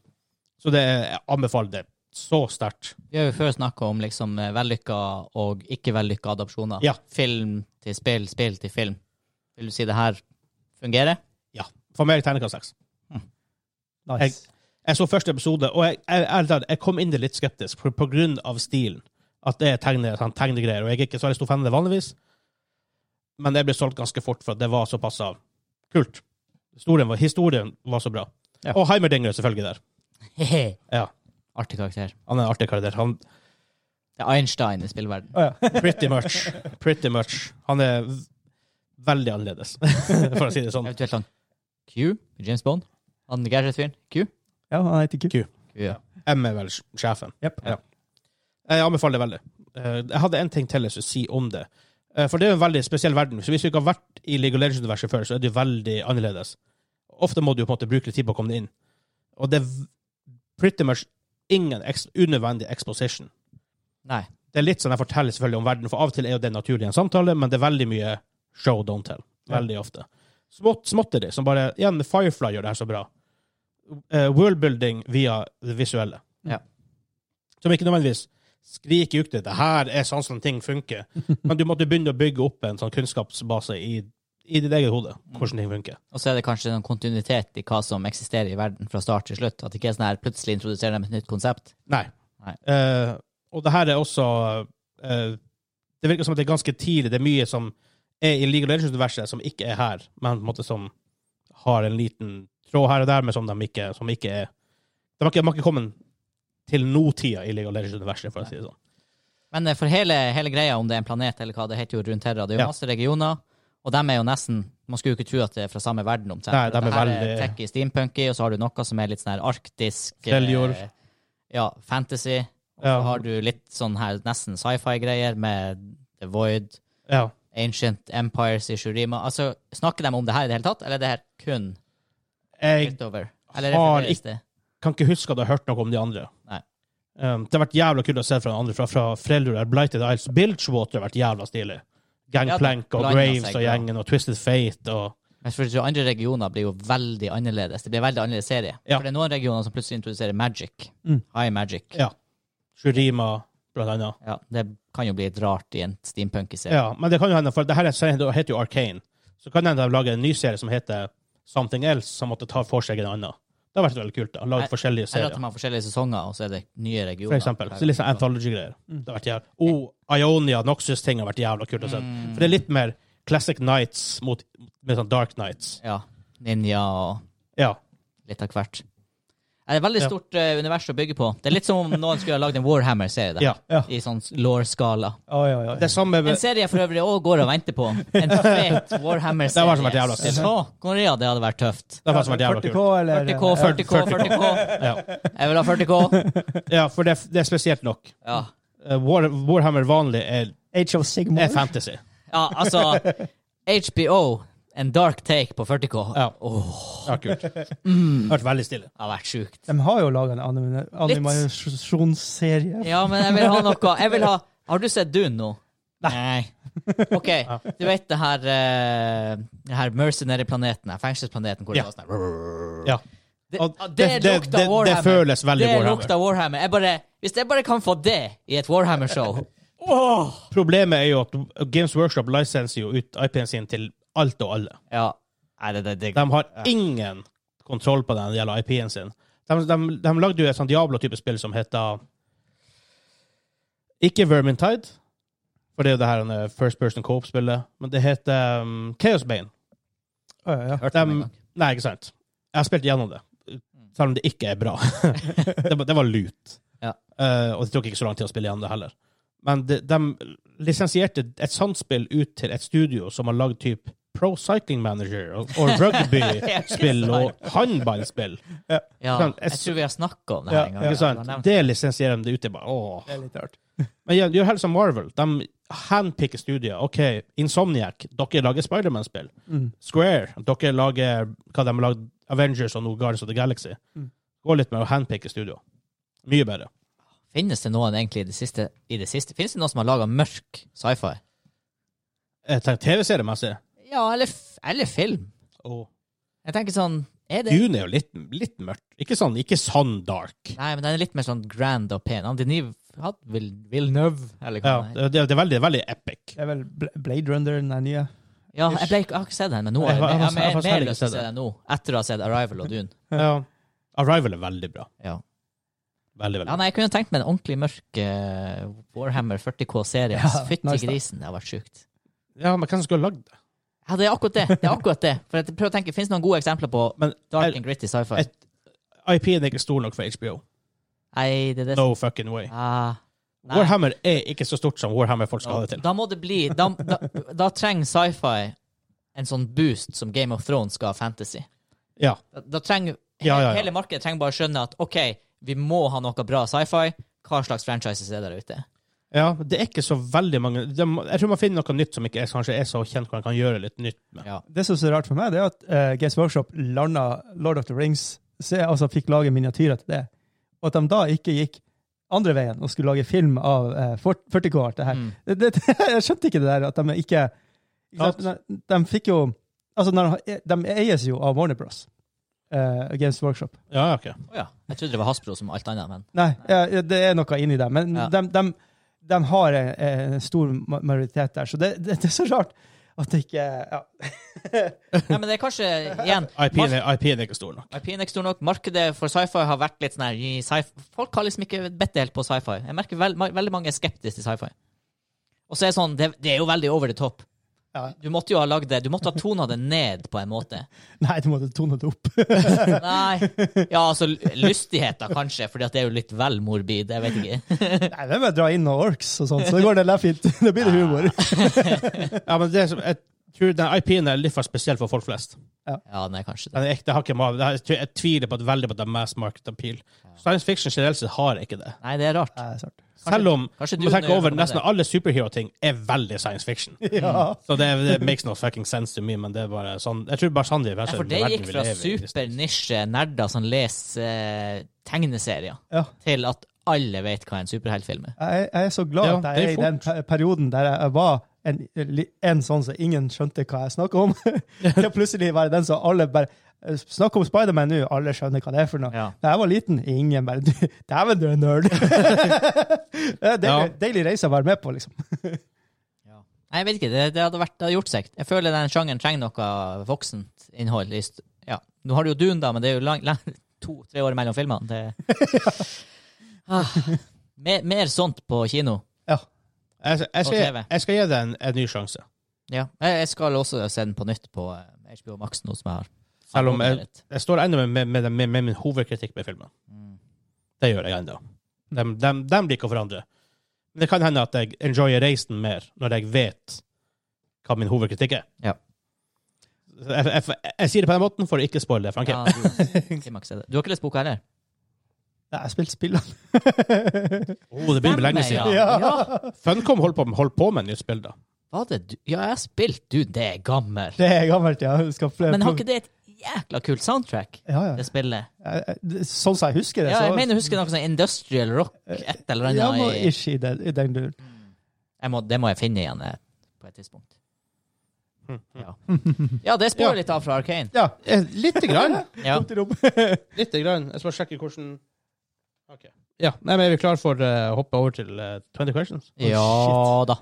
B: Så det, jeg anbefaler det så sterkt.
A: Vi har jo før snakka om liksom eh, vellykka og ikke vellykka adopsjoner.
B: Ja.
A: Film til spill, spill til film. Vil du si det her fungerer?
B: Ja. For meg terningkast seks.
C: Nice.
B: Jeg så første episode, og jeg, jeg, ærlig talt, jeg kom inn det litt skeptisk på, på grunn av stilen. At det er tegne, sånn, tegnegreier, og jeg er ikke så veldig stor fan av det vanligvis. Men jeg ble solgt ganske fort, for at det var såpass av kult. Historien var, historien var så bra.
C: Ja.
B: Og Heimerdinger er selvfølgelig der. Ja,
A: Artig karakter.
B: Han er en artig karakter. Han
A: Det er Einstein i spillverden.
C: Å, ja.
B: pretty much, pretty much. Han er v- veldig annerledes, for å si det sånn.
A: Eventuelt han Q, James Bond. Han gadget-fyren. Q.
C: Ja, han heter Q.
B: Q.
A: Q, ja.
B: M er vel sj- sjefen.
C: Jep.
B: Ja. Jeg anbefaler det veldig. Eh, Jeg hadde en ting til jeg skulle si om det. Eh, For det er jo en veldig spesiell verden. Så hvis du ikke har vært i League of Legends-universet før, så er det jo veldig annerledes. Ofte må du jo på en måte bruke litt tid på å komme deg inn. Og det er v- pretty much ingen eks unødvendig exposition.
A: Nei.
B: Det er litt sånn jeg forteller selvfølgelig om verden, for av og til er jo det naturlig i en samtale, men det er veldig mye show don't tell. Veldig ofte. Smått, småtteri, som bare Igjen, Firefly gjør det her så bra. Eh, worldbuilding via det visuelle.
A: Ja.
B: Som ikke nødvendigvis skriker ut det. Det her er sånn som ting funker. Men du måtte begynne å bygge opp en sånn kunnskapsbase i, i ditt eget hode. Hvordan ting funker.
A: Og så er det kanskje noen kontinuitet i hva som eksisterer i verden fra start til slutt. At det ikke er sånn her plutselig introduserer de et nytt konsept.
B: Nei.
A: Nei.
B: Eh, og det her er også eh, Det virker som at det er ganske tidlig. Det er mye som er i League of Legends-universet som ikke er her, men på en måte som har en liten tråd her og der, men som de ikke, som ikke er De har ikke, de har ikke kommet til nåtida i League of Legends-universet, for å si det sånn.
A: Men eh, for hele, hele greia, om det er en planet eller hva det heter jo rundt Terra, det er jo
B: Ja.
A: masse regioner, og de er jo nesten Man skulle jo ikke tro at det er fra samme verden, omtrent.
B: Nei, de er
A: det her er
B: veldig-
A: trekk i steampunky, og så har du noe som er litt sånn her arktisk eh,
B: Freljord.
A: Ja, fantasy. Og så
B: Ja.
A: har du litt sånn her nesten sci-fi-greier med The Void,
B: Ja.
A: Ancient Empires i Shurima. Altså, snakker de om det her i det hele tatt, eller er det her kun
B: Jeg
A: Piltover? Eller
B: har
A: refereres det?
B: kan ikke huske at jeg har hørt noe om de andre.
A: Nei.
B: Um, det har vært jævla kult å se fra de andre, fra, fra Freljord der, Blighted Isles. Bilgewater har vært jævla stilig. Gangplank
A: Ja,
B: og
A: det blandet
B: Graves
A: seg
B: og
A: bra.
B: gjengen og Twisted Fate og
A: Men for så andre regioner blir jo veldig annerledes. Det blir veldig annerledes serie.
B: Ja.
A: For det er noen regioner som plutselig introduserer magic.
C: Mm.
A: High magic.
B: Ja. Shurima, blant annet.
A: Ja, det kan jo bli litt rart i en steampunky-serie.
B: Ja, men det kan jo hende, for det her er en serie som heter jo Arcane. Så kan det hende de lager en ny serie som heter Something Else, som måtte ta for seg en annen. Det har vært veldig kult. da. Laget
A: Eller-
B: forskjellige
A: Eller at
B: serier,
A: de har forskjellige sesonger, og så er det nye regioner.
B: for eksempel. Så litt sånn anthology-greier. Det har vært jævla... Oh, Ionia, Noxus-ting har vært jævla kult å se.
A: Mm.
B: For det er litt mer Classic Nights mot med sånn Dark Nights.
A: Ja. Ninja og
B: Ja.
A: litt av hvert. Ja, Det er et veldig
B: Ja.
A: stort eh, univers å bygge på. Det er litt som om noen skulle ha lagd en Warhammer-serie. der.
B: ja.
C: Ja.
A: I sånn law-skala.
C: Oi, oi, oi.
B: Det samme
A: En
B: med
A: serie jeg for øvrig òg går og venter på. En fet
B: Det
A: Warhammer-serie.
B: var som et jævla
A: Så, Korea, det hadde vært tøft.
B: Det var sånn som var jævla
C: 40K,
B: kult.
C: eller
A: 40K, 40K, 40K.
B: Ja,
A: Jeg vil ha 40K.
B: ja for det, det er spesielt nok.
A: Ja.
B: Eh, War, Warhammer vanlig er,
C: Age of Sigmar.
B: er fantasy.
A: Ja, altså HBO, en dark take på 40K,
B: Ja.
A: Åh,
B: Ja, kult. Hørt veldig stille.
A: det har vært sjukt.
C: De har jo laga en anime- animasjonsserie.
A: Ja, men jeg vil ha noe Jeg vil ha Har du sett Dune nå? Nei. OK, du vet det her eh, Det her mercenary-planeten, her fengselsplaneten, hvor det
B: Ja.
A: var sånn her-
B: Ja.
A: Det,
B: Og
A: ah, det,
B: det- det-
A: lukta
B: det- det
A: Warhammer.
B: føles veldig
A: det
B: Warhammer.
A: Lukta Warhammer. Jeg bare, hvis jeg bare kan få det i et Warhammer-show Åh!
B: Problemet er jo at Games Workshop lisenser jo ut IP-en sin til alt og alle.
A: Ja. Nei, det, det, det,
B: De har ingen kontroll på den gjelder IP-en sin. De, de, de lagde jo et sånt Diablo-type spill som heter Ikke Vermintide, for det er jo det her en First Person Co-op-spillet, men det heter um, Chaosbane.
C: Ja, ja.
A: hørte
B: De,
A: om en gang.
B: nei, ikke sant. Jeg har spilt gjennom det, selv om det ikke er bra. det, var- det var lut.
A: Ja.
B: Eh, og det tok ikke så lang tid å spille gjennom det heller. Men de, de lisensierte et sånt spill ut til et studio som har lagd type Pro Cycling Manager og, og rugby-spill og håndballspill.
A: ja,
B: sånn, jeg
A: jeg tror vi har snakka om det
C: Ja,
A: her en gang.
B: Ikke sant?
A: Ja,
B: Det lisensierer de det ut til. Bare, åh.
C: Det er litt rart.
B: Men gjør- gjør helt som Marvel. De handpicker studier. OK, Insomniac, dere lager Spiderman-spill.
C: Mm.
B: Square, dere lager hva de har lagd Avengers og noe Guardians of the Galaxy.
C: Mm.
B: Gå litt med å handpicke studio. Mye bedre.
A: Finnes det noen egentlig i det siste, i det siste? Finnes det noen som har laga mørk sci-fi?
B: Jeg tenker TV-seriemessig.
A: Ja, eller, f- eller film.
B: Oh.
A: Jeg tenker sånn er det?
B: Dune er jo litt, litt mørkt. Ikke sånn, ikke sånn dark.
A: Nei, men den er litt mer sånn grand og pen. Han Denis hadde Vil- Villeneuve, eller hva
B: Ja,
A: han heter.
B: det, det er veldig, veldig epic.
C: Det er vel Bla- Blade Runner, den er nye.
A: Ja, jeg, ble, ikke- jeg har ikke sett den, men nå
B: Jeg
A: jeg,
B: har- jeg
A: jeg,
B: har-
A: jeg,
B: jeg har
A: mer,
B: faktisk heller
A: mer
B: ikke
A: lyst til å
B: sett
A: se
B: den.
A: den nå, etter å ha sett Arrival og Dune.
B: Ja. Arrival er veldig bra.
A: Ja.
B: Veldig, veldig
A: ja, nei, Jeg kunne tenkt meg en ordentlig mørk eh, Warhammer 40K-serie.
C: Ja,
A: Fytti
C: nice da.
A: grisen, det har vært sjukt.
B: Ja, men hvem som skulle ha lagd det?
A: Ja, det er akkurat det. det er akkurat det. For jeg prøver å tenke, Fins det noen gode eksempler på
B: Men
A: dark
B: er-
A: and gritty sci-fi?
B: et- IP-en er ikke stor nok for HBO.
A: Nei, det er det som
B: No fucking way.
A: ah, nei.
B: Warhammer er ikke så stort som Warhammer-folk skal ha det til.
A: Da må det bli Da, da, da trenger sci-fi en sånn boost som Game of Thrones ga fantasy.
B: Ja.
A: Da, da trenger
B: Ja, ja, ja.
A: Hele markedet trenger bare skjønne at OK, vi må ha noe bra sci-fi. Hva slags franchises er der ute?
B: ja. Det er ikke så veldig mange det, Jeg tror man finner noe nytt som ikke er, kanskje er så kjent, hvor man kan gjøre litt nytt med.
A: Ja.
C: Det som er så rart for meg, det er at eh, Games Workshop landa Lord of the Rings, se, altså fikk lage miniatyrer til det. Og at de da ikke gikk andre veien og skulle lage film av eh, fort- 40K og alt det her.
A: Mm.
C: Det, det, jeg skjønte ikke det der, at de ikke ikke sant? de, de fikk jo Altså, de, de eies jo av Warner Bros. eh, Games Workshop.
B: Ja, ok.
A: Å ja. Jeg trodde det var Hasbro som alt annet, men
C: Nei, ja, ja, det er noe inni der. Men
A: Ja.
C: de, de, de har en, en stor ma- majoritet der, så det, det, det er så rart at det ikke ja.
A: Nei, men det er kanskje igjen
B: IP-en er, IP er ikke stor nok.
A: IP-en er ikke stor nok. Markedet for sci-fi har vært litt sånn her i sci- Folk har liksom ikke bedt helt på sci-fi. Jeg merker vel- ma- veldig mange er skeptiske til sci-fi. Og så er det sånn det, det er jo veldig over the top.
C: Ja.
A: Du måtte jo ha lagd det Du måtte ha tona det ned på en måte.
C: Nei, du måtte tone det opp.
A: Nei Ja, altså l- lystigheten kanskje, Fordi at det er jo litt vel morbid. Jeg vet ikke.
C: Nei, det er bare å dra inn noen orks og sånn, så det går det der fint. Da blir det humor.
B: Ja, men det, som- jeg tror den IP-en er litt for spesiell for folk flest.
A: Ja, nei, kanskje det.
B: Den er ekte har ikke ma- det er- Jeg tviler på at veldig på at det er mass market appeal. Science fiction generelt sett har ikke det.
A: Nei, det er rart.
C: Nei, sant.
B: Selv om
A: kanskje du
B: man tenker
A: gjør
B: over
A: noe med
B: nesten
A: det.
B: alle superhero-ting er veldig science fiction.
C: Ja.
B: Så det, det makes no fucking sense to me, men det er bare sånn Jeg tror bare sånn vi liksom.
A: Nei, for det gikk fra supernisje nerder som leser eh, tegneserier,
C: Ja.
A: til at alle vet hva en superheltfilm er.
C: Jeg, jeg er så glad
B: Ja,
C: at
B: det
C: jeg
B: er
C: er i
B: fort.
C: den per- perioden der jeg var en, en sånn som ingen skjønte hva jeg snakka om. Til plutselig var jeg den som alle bare Snakk om Spiderman nå, alle skjønner hva det er for noe.
A: Ja.
C: Da jeg var liten, ingen bare du, Dæven, du er nerd! det
B: Ja.
C: er deilig, deilig reise å være med på, liksom.
A: Nei, jeg vet ikke. Det, det, hadde vært, det hadde gjort seg. Jeg føler den sjangeren trenger noe voksent innhold. i st- Ja. Nå har du jo Dune, da, men det er jo lang, lang, to-tre år mellom filmene. Det... ah, mer, mer sånt på kino.
B: Jeg, jeg,
A: På TV.
B: skal, jeg skal gi det en, en ny sjanse.
A: Ja. Jeg, jeg skal også se den på nytt på eh, HBO Max nå som jeg har.
B: Selv om jeg,
A: abonnert.
B: jeg står ennå med, med, med, med, med min hovedkritikk med filmen.
A: Mm.
B: Det gjør jeg ennå. Dem, dem, dem blir ikke å forandre. Men det kan hende at jeg enjoyer reisen mer når jeg vet hva min hovedkritikk er.
A: Ja.
B: Jeg, jeg, jeg, sier det på den måten for å ikke spoile det, Frank.
A: Ja, du, Klimax er det. du har ikke lest boka heller?
C: Nei, jeg spilte spillene.
B: Oh, det begynner å bli lenge
A: Stemmer,
B: siden.
A: Ja.
B: Funcom holdt på, holdt på med et nytt spill, da.
A: Var det du? Ja, jeg har spilt du, det er gammel.
C: Det er gammelt, ja. Skal flere
A: Men har
C: prøve-
A: ikke det et jækla kult soundtrack,
C: ja, ja.
A: det spillet?
C: Jeg- jeg- Sånn som jeg husker det,
A: Ja, jeg
C: så
A: mener jeg husker noe sånn industrial rock, et eller
C: ja, noe
A: annet. i-
C: ish i den, i den duren.
A: Jeg må, det må jeg finne igjen eh, på et tidspunkt. Ja, ja det spår
B: Ja.
A: litt av fra Arkane.
C: Ja.
B: Eh, Lite grann.
A: Ja.
C: Tomt i rom.
B: Lite grann. Jeg skal bare sjekke hvordan Ok. Ja, nei, men Er vi klare for eh, å hoppe over til eh, 20 questions?
A: ja da.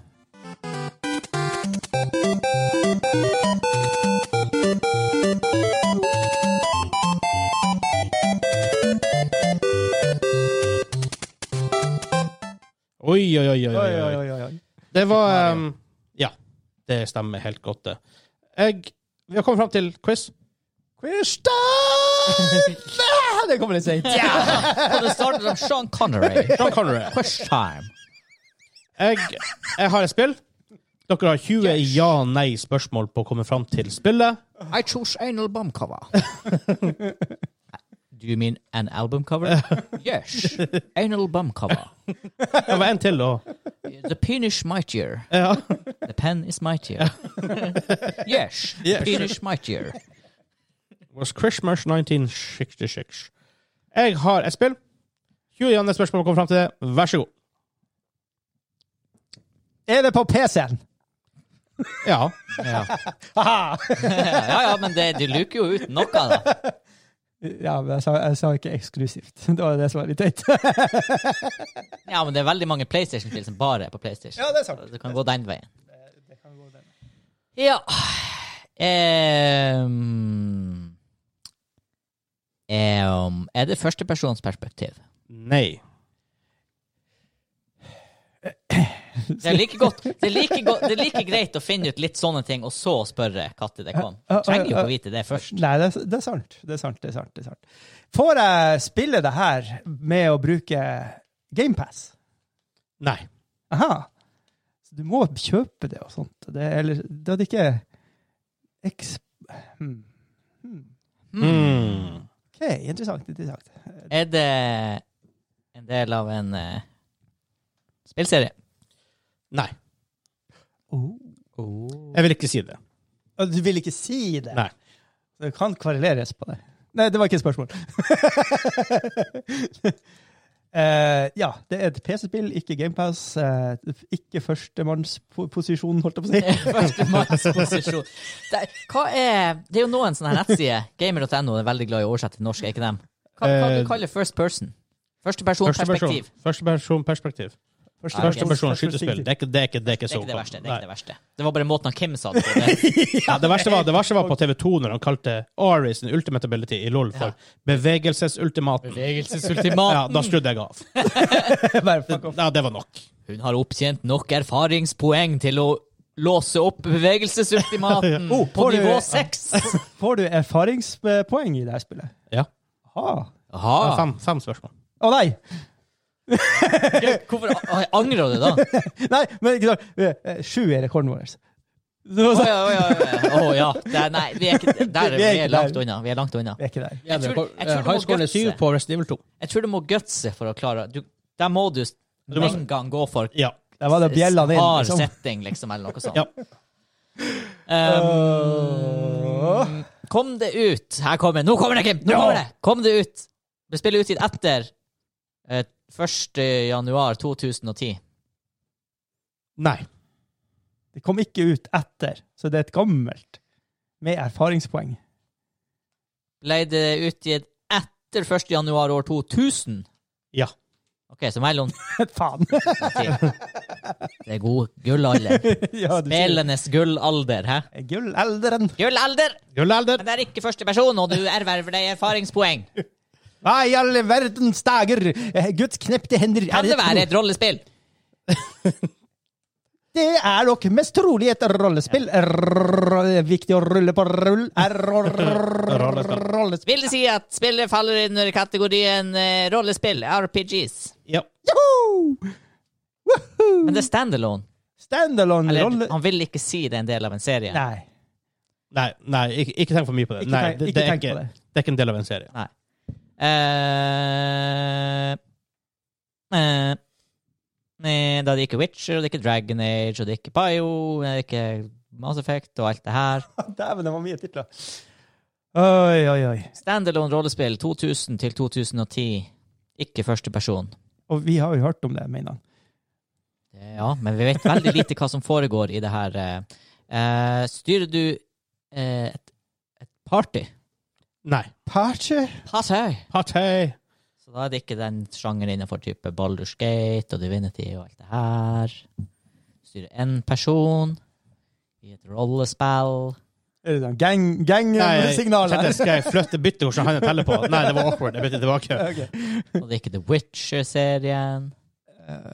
B: Oi, oi, oi. oi,
C: Oi,
B: oi,
C: oi,
B: oi.
C: oi, oi.
B: Det var ehm, Ja. Det stemmer helt godt, det. Jeg, vi har kommet fram til quiz.
C: Quiz time! Ah, Det kommer litt seint.
A: Og det startet av Sean Connery.
B: John Connery.
A: First time.
B: Jeg, jeg har et spill. Dere har 20 ja-nei-spørsmål på å komme fram til spillet.
A: I chose anal bomb cover. Do you mean an album cover? Yes. Anal bomb cover.
B: Det var en til, og
A: The penis mightier.
B: ja.
A: The pen is mightier. yes. The
B: Yes.
A: penis mightier.
B: was Christmas 1966. Jeg har et spill. 20 ja-nei-spørsmål på å komme fram til det. Vær så god.
C: Er det på PC-en?
B: Ja.
A: Ja. ja, ja, men det, du luker jo ut noe, da.
C: Ja, men jeg sa, jeg sa ikke eksklusivt. Det var det som var litt teit.
A: Ja, men det er veldig mange PlayStation-spill som bare er på PlayStation.
C: Ja, det er sant.
A: Så Det kan gå den veien. Ja Ehm. Ehm, Er det førstepersonsperspektiv?
B: Nei.
A: Det er like godt det er like, godt, det er like greit å finne ut litt sånne ting, og så spørre når det kom. Du trenger jo ikke å vite det først.
C: Nei, det, er- det er sant. Det er sant, det er sant. det er sant. Får jeg spille det her med å bruke GamePass?
B: Nei.
C: Aha. Så du må kjøpe det og sånt. Det, eller, det hadde ikke eks... Hmm. Hmm.
B: Mm.
C: OK, interessant. interessant.
A: Er det en del av en eh, spillserie?
B: Nei.
C: Oh.
B: Jeg vil ikke si det.
C: Og Du vil ikke si det?
B: Nei.
C: Det kan kvaruleres på det. Nei, det var ikke et spørsmål. Eh, ja, det er et PC-spill, ikke GamePass. Uh, ikke førstemannsposisjon, holdt jeg på å si.
A: Førstemannsposisjon. Det, er- hva er, det er jo noen sånne nettsider, gamer.no er veldig glad i å oversette til norsk, er ikke dem? Hva, hva
B: Eh,
A: du kaller first person?
B: Førsteperson
A: Førstepersonperspektiv.
B: Førstepersonperspektiv. Førsteperson skytespill. Det er ikke det, er ikke, det, er ikke
A: Det er
B: så
A: ikke det verste. Det er
B: Nei.
A: ikke det verste. Det var bare måten han Kim sa det på. Det.
B: Ja, det, verste var, det verste var på TV2 når han kalte Aris sin ultimate ability i LOL for bevegelsesultimaten.
A: Bevegelsesultimat.
B: Ja, da skrudde jeg av.
C: Bare fuck off.
B: Ja, det var nok.
A: Hun har opptjent nok erfaringspoeng til å låse opp bevegelsesultimaten
C: Oh,
A: på
C: får du-
A: nivå seks.
C: Får du erfaringspoeng i det her spillet?
B: Ja.
C: Aha.
A: Aha.
C: Ah.
B: Det var Fem, fem spørsmål.
C: Å nei!
A: Hvorfor a- angrer du da? Å
C: Nei, men ikke sant. Eh, Sju er rekorden vår.
A: ja, å
C: sånn-
A: ja, å ja. Å, ja. Det er, nei, vi er ikke der. er- Vi er langt unna. Vi er langt unna.
C: Vi er eh, ikke der.
A: Jeg tror- eh, jeg tror det må
B: High scoren er syv
A: gutse.
B: på Resident Evil 2.
A: Jeg tror du må gutse for å klare du, Der må du s-
B: Du må-
A: en gang gå for
B: Ja.
C: Der var det bjellene inn.
A: hard
C: Liksom.
A: setting, liksom, eller noe sånt.
B: Ja.
A: Um, kom det ut Her kommer Nå kommer det, Kim! Nå
C: Ja.
A: kommer det! Kom det ut! Det spiller utgitt etter eh, 1. januar 2010.
B: Nei.
C: Det kom ikke ut etter, så det er et gammelt med erfaringspoeng.
A: Ble det utgitt etter 1. januar år 2000?
B: Ja.
A: OK, så mellom
C: Faen!
A: Det er god gullalder.
C: ja, du sier det.
A: Spelenes gullalder, hæ?
C: Gullelderen.
A: Gullalder!
B: Gullalder.
A: Men det er ikke første person, og du erverver deg erfaringspoeng.
C: Hva i all verdens dager? Eh, Guds knepte hender
A: Kan det være et rollespill?
C: Det er nok mest trolig et rollespill. Rrrr, Viktig å rulle på rull. Rrrr, Rollespill.
A: Vil det si at spillet faller under kategorien eh, rollespill, RPGs?
B: Ja.
C: Joho! Woohoo!
A: Men det er standalone.
C: Standalone
A: Eller,
C: Mm. rolle...
A: han vil ikke si det er en del av en serie.
C: Nei.
B: Nei, nei ikke, ikke tenk for mye på det.
C: Ikke
B: Nei,
C: tenk-
B: det,
C: ikke
B: det, er
C: tenk
B: ikke,
C: på det.
B: det er ikke en del av en serie.
A: Eh, eh, nei, da er det ikke Witcher, og det er ikke Dragon Age, og det er ikke Bio, og det er ikke Mass Effect og alt det her.
C: Dæven, det var mye titler. Oi, oi, oi.
A: Standalone rollespill 2000 til 2010. Ikke første person.
C: Og vi har jo hørt om det, mener han.
A: Eh, Ja, men vi vet veldig lite hva som foregår i det her. eh. Eh, styrer du eh, et, et party?
B: Nei.
C: Party?
A: Party!
B: Partey.
A: Så da er det ikke den sjangeren innenfor type Baldur's Gate og Divinity og alt det her. Styrer én person i et rollespill.
C: Er det den gang, gang signalet?
B: kjente skal jeg flytte bytte hvordan han teller på. Nei, det var awkward. Jeg bytter tilbake.
A: Og det er ikke The Witcher-serien.
C: Eh,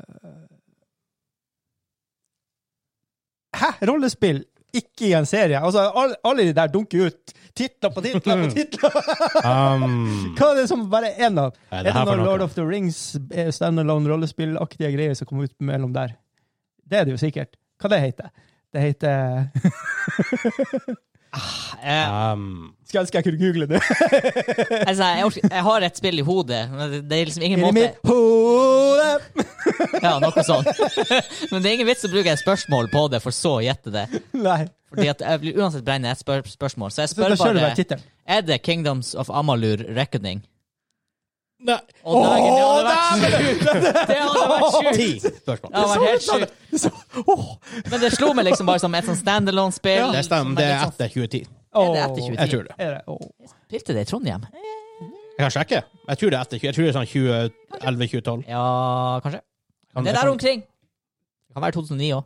C: Hæ? Rollespill? Ikke i en serie? Altså, alle, alle de der dunker ut titler på titler på titler!
B: Um,
C: Hva er det som bare er en av?
B: Hva er
C: Er
B: det
C: det
B: her for
C: noen
B: noe?
C: Lord of the Rings eh, standalone rollespillaktige greier som kommer ut mellom der? Det er det jo sikkert. Hva det heter det? heter
A: Eh,
B: um,
C: Skal jeg, skal jeg kunne google det?
A: altså, jeg, orker- jeg har et spill i hodet, men det- det er liksom ingen
C: Inni
A: måte
C: mitt hode!
A: Ja, noe sånt. Men det er ingen vits å bruke et spørsmål på det, for så å gjette det.
C: Nei.
A: Fordi at jeg blir uansett brennende et spør spørsmål. Så jeg
C: Så da
A: spør
C: kjører du bare
A: bare
C: tittelen.
A: Er det Kingdoms of Amalur Reckoning?
B: nei.
A: Å, dagen, det hadde vært Det hadde vært sjukt!
B: Ti spørsmål.
A: Det hadde vært helt
C: Så-
A: sjukt.
C: så- Åh!
A: Men det slo meg liksom bare som et sånn standalone-spill.
B: Det stemmer. Det er
A: Liksom,
B: etter 2010.
A: Er det etter
C: Åh.
A: 2010?
B: Jeg tror det.
C: Er det? Åh.
A: Spilte det i Trondheim?
B: Jeg kan sjekke. Jeg tror det er etter 20. Jeg tror det er sånn 2011-2012.
A: Ja, kanskje. Det er der omkring. Det kan være 2009 òg.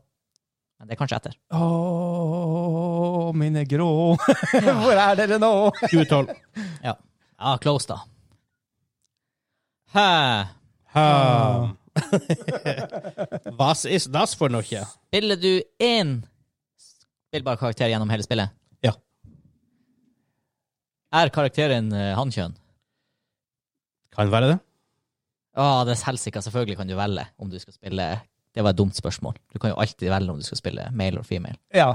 A: Men det er kanskje etter.
C: Åh, mine grå Hvor er dere nå?
B: 2012.
A: Ja, ja close, da. Hæ?
B: Um, Was is das for noe?
A: Spiller du én spillbar karakter gjennom hele spillet?
B: Ja.
A: Er karakteren uh, hankjønn?
B: Kan være det.
A: Å, det er helsika. Selvfølgelig kan du velge om du skal spille Det var et dumt spørsmål. Du kan jo alltid velge om du skal spille male eller female.
C: Ja.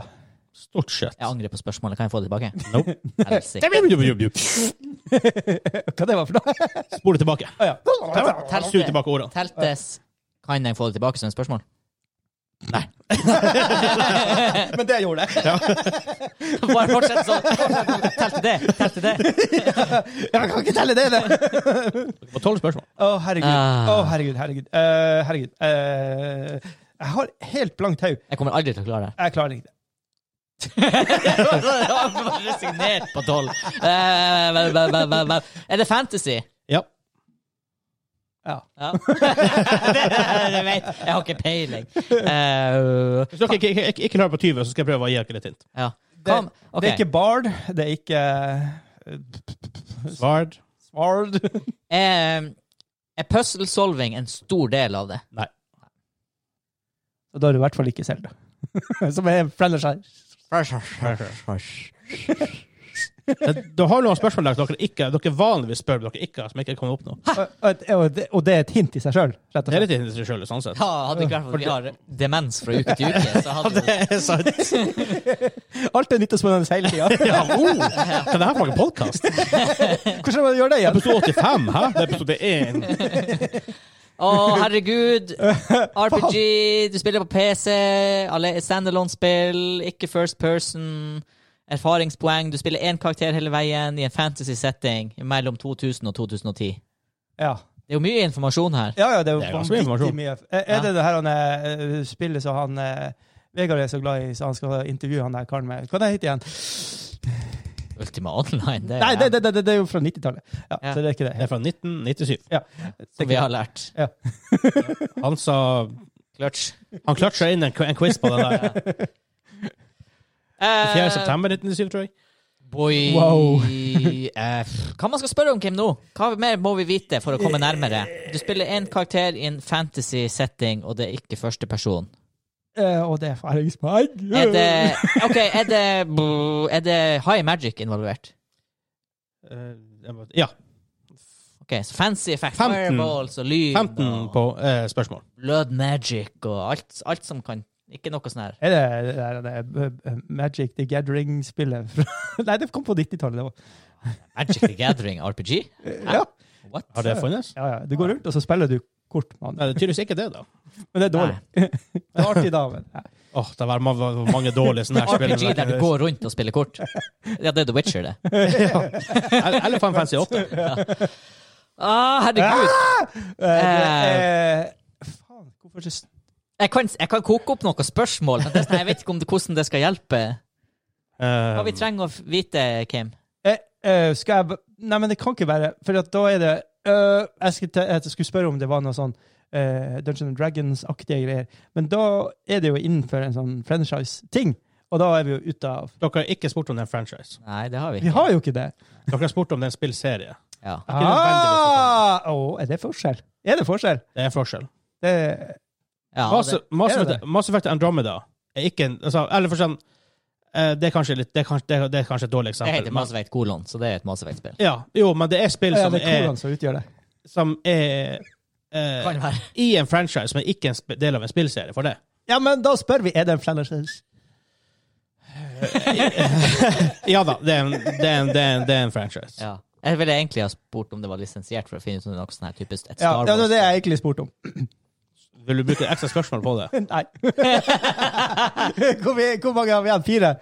B: Stort sett.
A: Jeg angrer på spørsmålet. Kan jeg få det tilbake?
B: Nope.
A: Helsike.
C: Hva det var for noe?
B: Spole tilbake.
C: Ah, ja.
B: Sug tilbake ordene.
A: Teltes. Kan jeg få det tilbake som et spørsmål?
C: Men det gjorde jeg.
A: Bare fortsett sånn. Fortsett. Telte det. Telte det.
C: Jeg kan ikke telle det! det.
B: Dere får tolv spørsmål.
C: Å, herregud.
A: Ah.
C: Å, herregud, herregud. Eh, herregud. Eh, jeg har helt blankt hode.
A: Jeg kommer aldri til å klare det.
C: Jeg klarer ikke det.
A: Jeg har bare Resignert på tolv. Eh, vel, vel, vel, vel, vel. Er det fantasy?
B: Ja.
C: Ja.
A: Ja. det, jeg vet. Jeg har ikke peiling. Eh,
B: Hvis dere ikke, ikke, ikke klarer på 20, så skal jeg prøve å gi dere litt hint.
A: ja.
C: Det,
A: Kom, ok.
C: det er ikke Bard. Det er ikke eh,
B: Svard?
C: Svard.
A: Eh, er puzzle solving en stor del av det?
B: Nei.
C: Og da er du i hvert fall ikke Selda. Som er en franchise.
B: Men Da har du noen spørsmål der dere, ikke, dere vanligvis spør, men dere ikke har, som ikke kommer opp nå.
C: Og, og, og det- og det er et hint i seg sjøl,
B: Det
C: rett og
B: er litt
C: slett.
B: interessant selv, sånn sett.
A: Ja, hadde ikke vært for at vi har demens fra uke til uke, så hadde vi
B: er sant.
C: Alt er nytt og spennende hele tida.
B: Ja, oh, hva er det her for en podkast?
C: Hvordan man gjør det igjen?
B: Episode 85, hæ? Det er episode 1.
A: Å, herregud. RPG, du spiller på PC, alle standalone-spill, ikke first person. Erfaringspoeng. Du spiller én karakter hele veien i en fantasy-setting mellom 2000 og 2010.
C: Ja.
A: Det er jo mye informasjon her.
C: Ja, ja, det er
B: Det er
C: jo
B: ganske mye
C: vanvittig
B: informasjon.
C: mye. Er er det det her han eh, spillet som han eh, Vegard er så glad i, så han skal intervjue han der karen med Hva det heter igjen?
A: Ultima Online, det er
C: Nei, det, det, det, det er jo fra 90-tallet. Ja,
A: Ja.
C: Så det er ikke det.
B: Det er fra 1997.
A: som vi har lært.
B: Han sa
A: Clutch.
B: Han klatra inn en, en quiz på den der. 4. september 1997, tror jeg.
A: Eh, Boy
C: Wow.
A: eh, Hva man skal spørre om, Kim, nå? Hva mer må vi vite for å komme nærmere? Du spiller én karakter i en fantasy-setting, og det er ikke første person.
C: Eh, og det er erfaringspoeng.
A: Er det OK, er det, er det high magic involvert?
B: Eh, jeg må- Ja.
A: OK, så fancy effect,
B: 15.
A: fireballs og lyd
B: 15
A: og
B: på eh, spørsmål.
A: blood magic og alt, alt som kan Ikke noe sånn her.
C: Er det, det, der, det eh, Magic the Gathering-spillet? fra- Nei, det kom på 90-tallet. det var.
A: Magic the Gathering RPG?
C: Ja.
A: What?
B: Har det funnes?
C: ja, ja. Du går rundt, og så spiller du kort med
B: Nei,
C: andre.
B: det er tydeligvis ikke det, da.
C: Men det er dårlig. Det er artig da, men nei.
B: Åh, det var ma- ma- mange dårlige sånne her spill.
A: RPG der du går rundt og spiller kort? Ja, det er The Witcher, det.
B: Eller eller Final Fantasy 8.
A: Ah, herregud.
C: Eh, det er- Faen, hvorfor så
A: Jeg kan, jeg kan koke opp noen spørsmål, men det, sånn, jeg vet ikke om det, hvordan det skal hjelpe.
B: Eh,
A: Hva
B: Um.
A: vi trenger å vite, Kim?
C: Eh, eh, skal jeg b- Nei, men det kan ikke være For at da er det eh, jeg, skulle te- jeg skulle spørre om det var noe sånn eh, Dungeons and Dragons-aktige greier. Men da er det jo innenfor en sånn franchise-ting. Og da er vi jo ute av
B: Dere har ikke spurt om det er en franchise.
A: Nei, det har vi
C: Vi
A: ikke.
C: har jo ikke det!
B: Dere har spurt om det er en spillserie.
A: Ja.
B: Ikke nødvendigvis
C: Ah! Å, er det forskjell? Er det forskjell?
B: Det er en forskjell.
C: Det,
A: Ja,
B: Mass,
A: det,
B: Mass,
C: er det
B: Effect, Mass Effect Andromeda er ikke en altså, Eller for sånn eh, Det er kanskje litt Det er kanskje, det er, det er kanskje et dårlig
A: det
B: eksempel.
A: heter Mass Effect kolon, så det er et Mass Effect-spill.
B: Ja, jo, men det er spill
C: ja,
B: som
C: det er
B: er,
C: kolon som utgjør det.
B: som er eh,
A: Kan være.
B: i en franchise, men ikke en sp del av en spillserie for det.
C: Ja, men da spør vi er det en franchise.
B: Ja da, det er en, det er en, det er en, det er en franchise.
A: Ja. Jeg ville egentlig ha spurt om det var lisensiert, for å finne ut om det er noe sånn her typisk et
C: Ja,
A: Star
C: det var
A: Wars.
C: det jeg egentlig spurte om.
B: Vil du bruke ekstra spørsmål på det?
C: Nei. hvor, vi, hvor mange har vi igjen? Fire?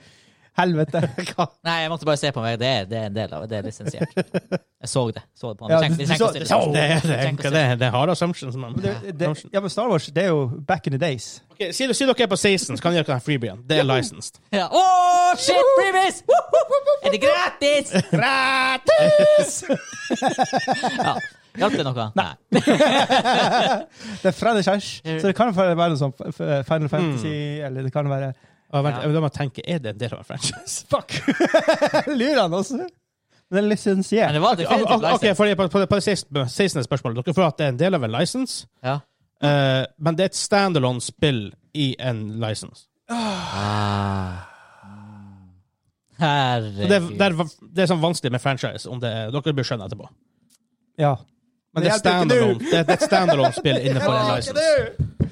C: Helvete. Hva?
A: Nei, jeg måtte bare se på meg. Det er, det er en del av det. Det er lisensiert. Jeg så det. Så det på han.
C: Ja,
A: Vi trenger- vi trenger
C: du- du
A: ikke
C: så-
A: å stille spørsmål.
B: Det,
C: Ja,
B: det,
A: Vi
B: det,
A: trenger ikke å
B: det,
A: stille-
B: er hard assumptions. Man.
C: Men Det, det, ja, men Star Wars, det er jo back in the days.
B: Ok, si, si dere er på 16, så kan dere ha freebien. Det er licensed.
A: Ja. Å, shit, freebies! Er det gratis?
B: Gratis!
A: Ja. Hjalp det noe? Nei.
C: Det er franchise, så det kan være noe sånn f- f-
B: Mm.
C: Final Fantasy, eller det kan være
B: Og vent, jeg må tenke, er det en del av en franchise?
C: Fuck! Lurer han også? Men det er
A: Men
C: lisensiert.
A: det var definitivt
B: Ok, Ah, ok,
A: license.
B: fordi på, på, på det 16. 16. spørsmålet, dere får at det er en del av en license,
A: Ja.
B: eh, men det er et standalone spill i en license.
A: Herregud.
B: Så Det, er- det, er, det er sånn vanskelig med franchise, om det er, dere blir skjønne etterpå.
C: Ja.
B: Men det er
C: hjelper ikke
B: standalone, det, er- det er et standalone spill innenfor en
C: nå.
B: license.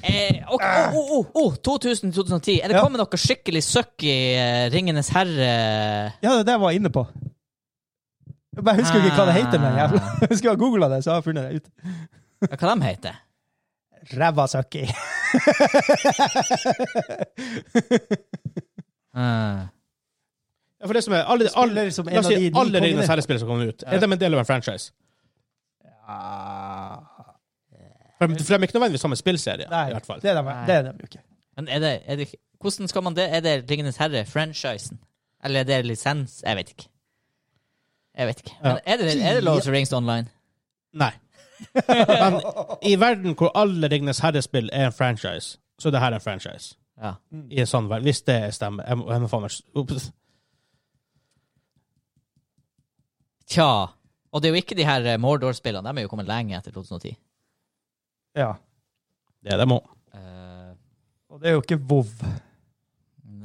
A: Eh, ok, oh, oh, oh, oh, 2000-2010. Er det
C: Ja.
A: kommet noe skikkelig søkk i eh, Ringenes herre?
C: Ja, det er det jeg var inne på. Jeg bare husker ikke hva det heter, men jeg
B: Ah.
C: jeg skulle ha googla det, så jeg har funnet det ut.
A: Ja, eh, Hva de heter
C: Ræva søkki.
A: Eh,
B: Ja, for det som er, alle, alle,
C: Spiller som en
B: la oss
C: av
B: si
C: de ni
B: alle Ringenes
C: kongene.
B: herre-spill som kommer ut, er de en del av en franchise? For, for de er ikke nødvendigvis samme spillserie,
C: Nei,
B: i hvert fall.
C: det er de- det er de jo ikke.
A: Men er det, er det Hvordan skal man det? Er det Ringenes herre-franchisen? Eller er det lisens? Jeg vet ikke. Jeg vet ikke. Men er det, er det Lord of the Rings online?
B: Nei. Men i verden hvor alle Ringenes herre-spill er en franchise, så er det her en franchise.
A: Ja.
B: I en sånn verden. Hvis det stemmer. Jeg må, jeg må faen meg s- Ops.
A: Tja. Og det er jo ikke de her eh, Mordor-spillene. De er jo kommet lenge etter 2010.
C: Ja.
B: Det er det må.
A: Eh,
C: Og det er jo ikke vov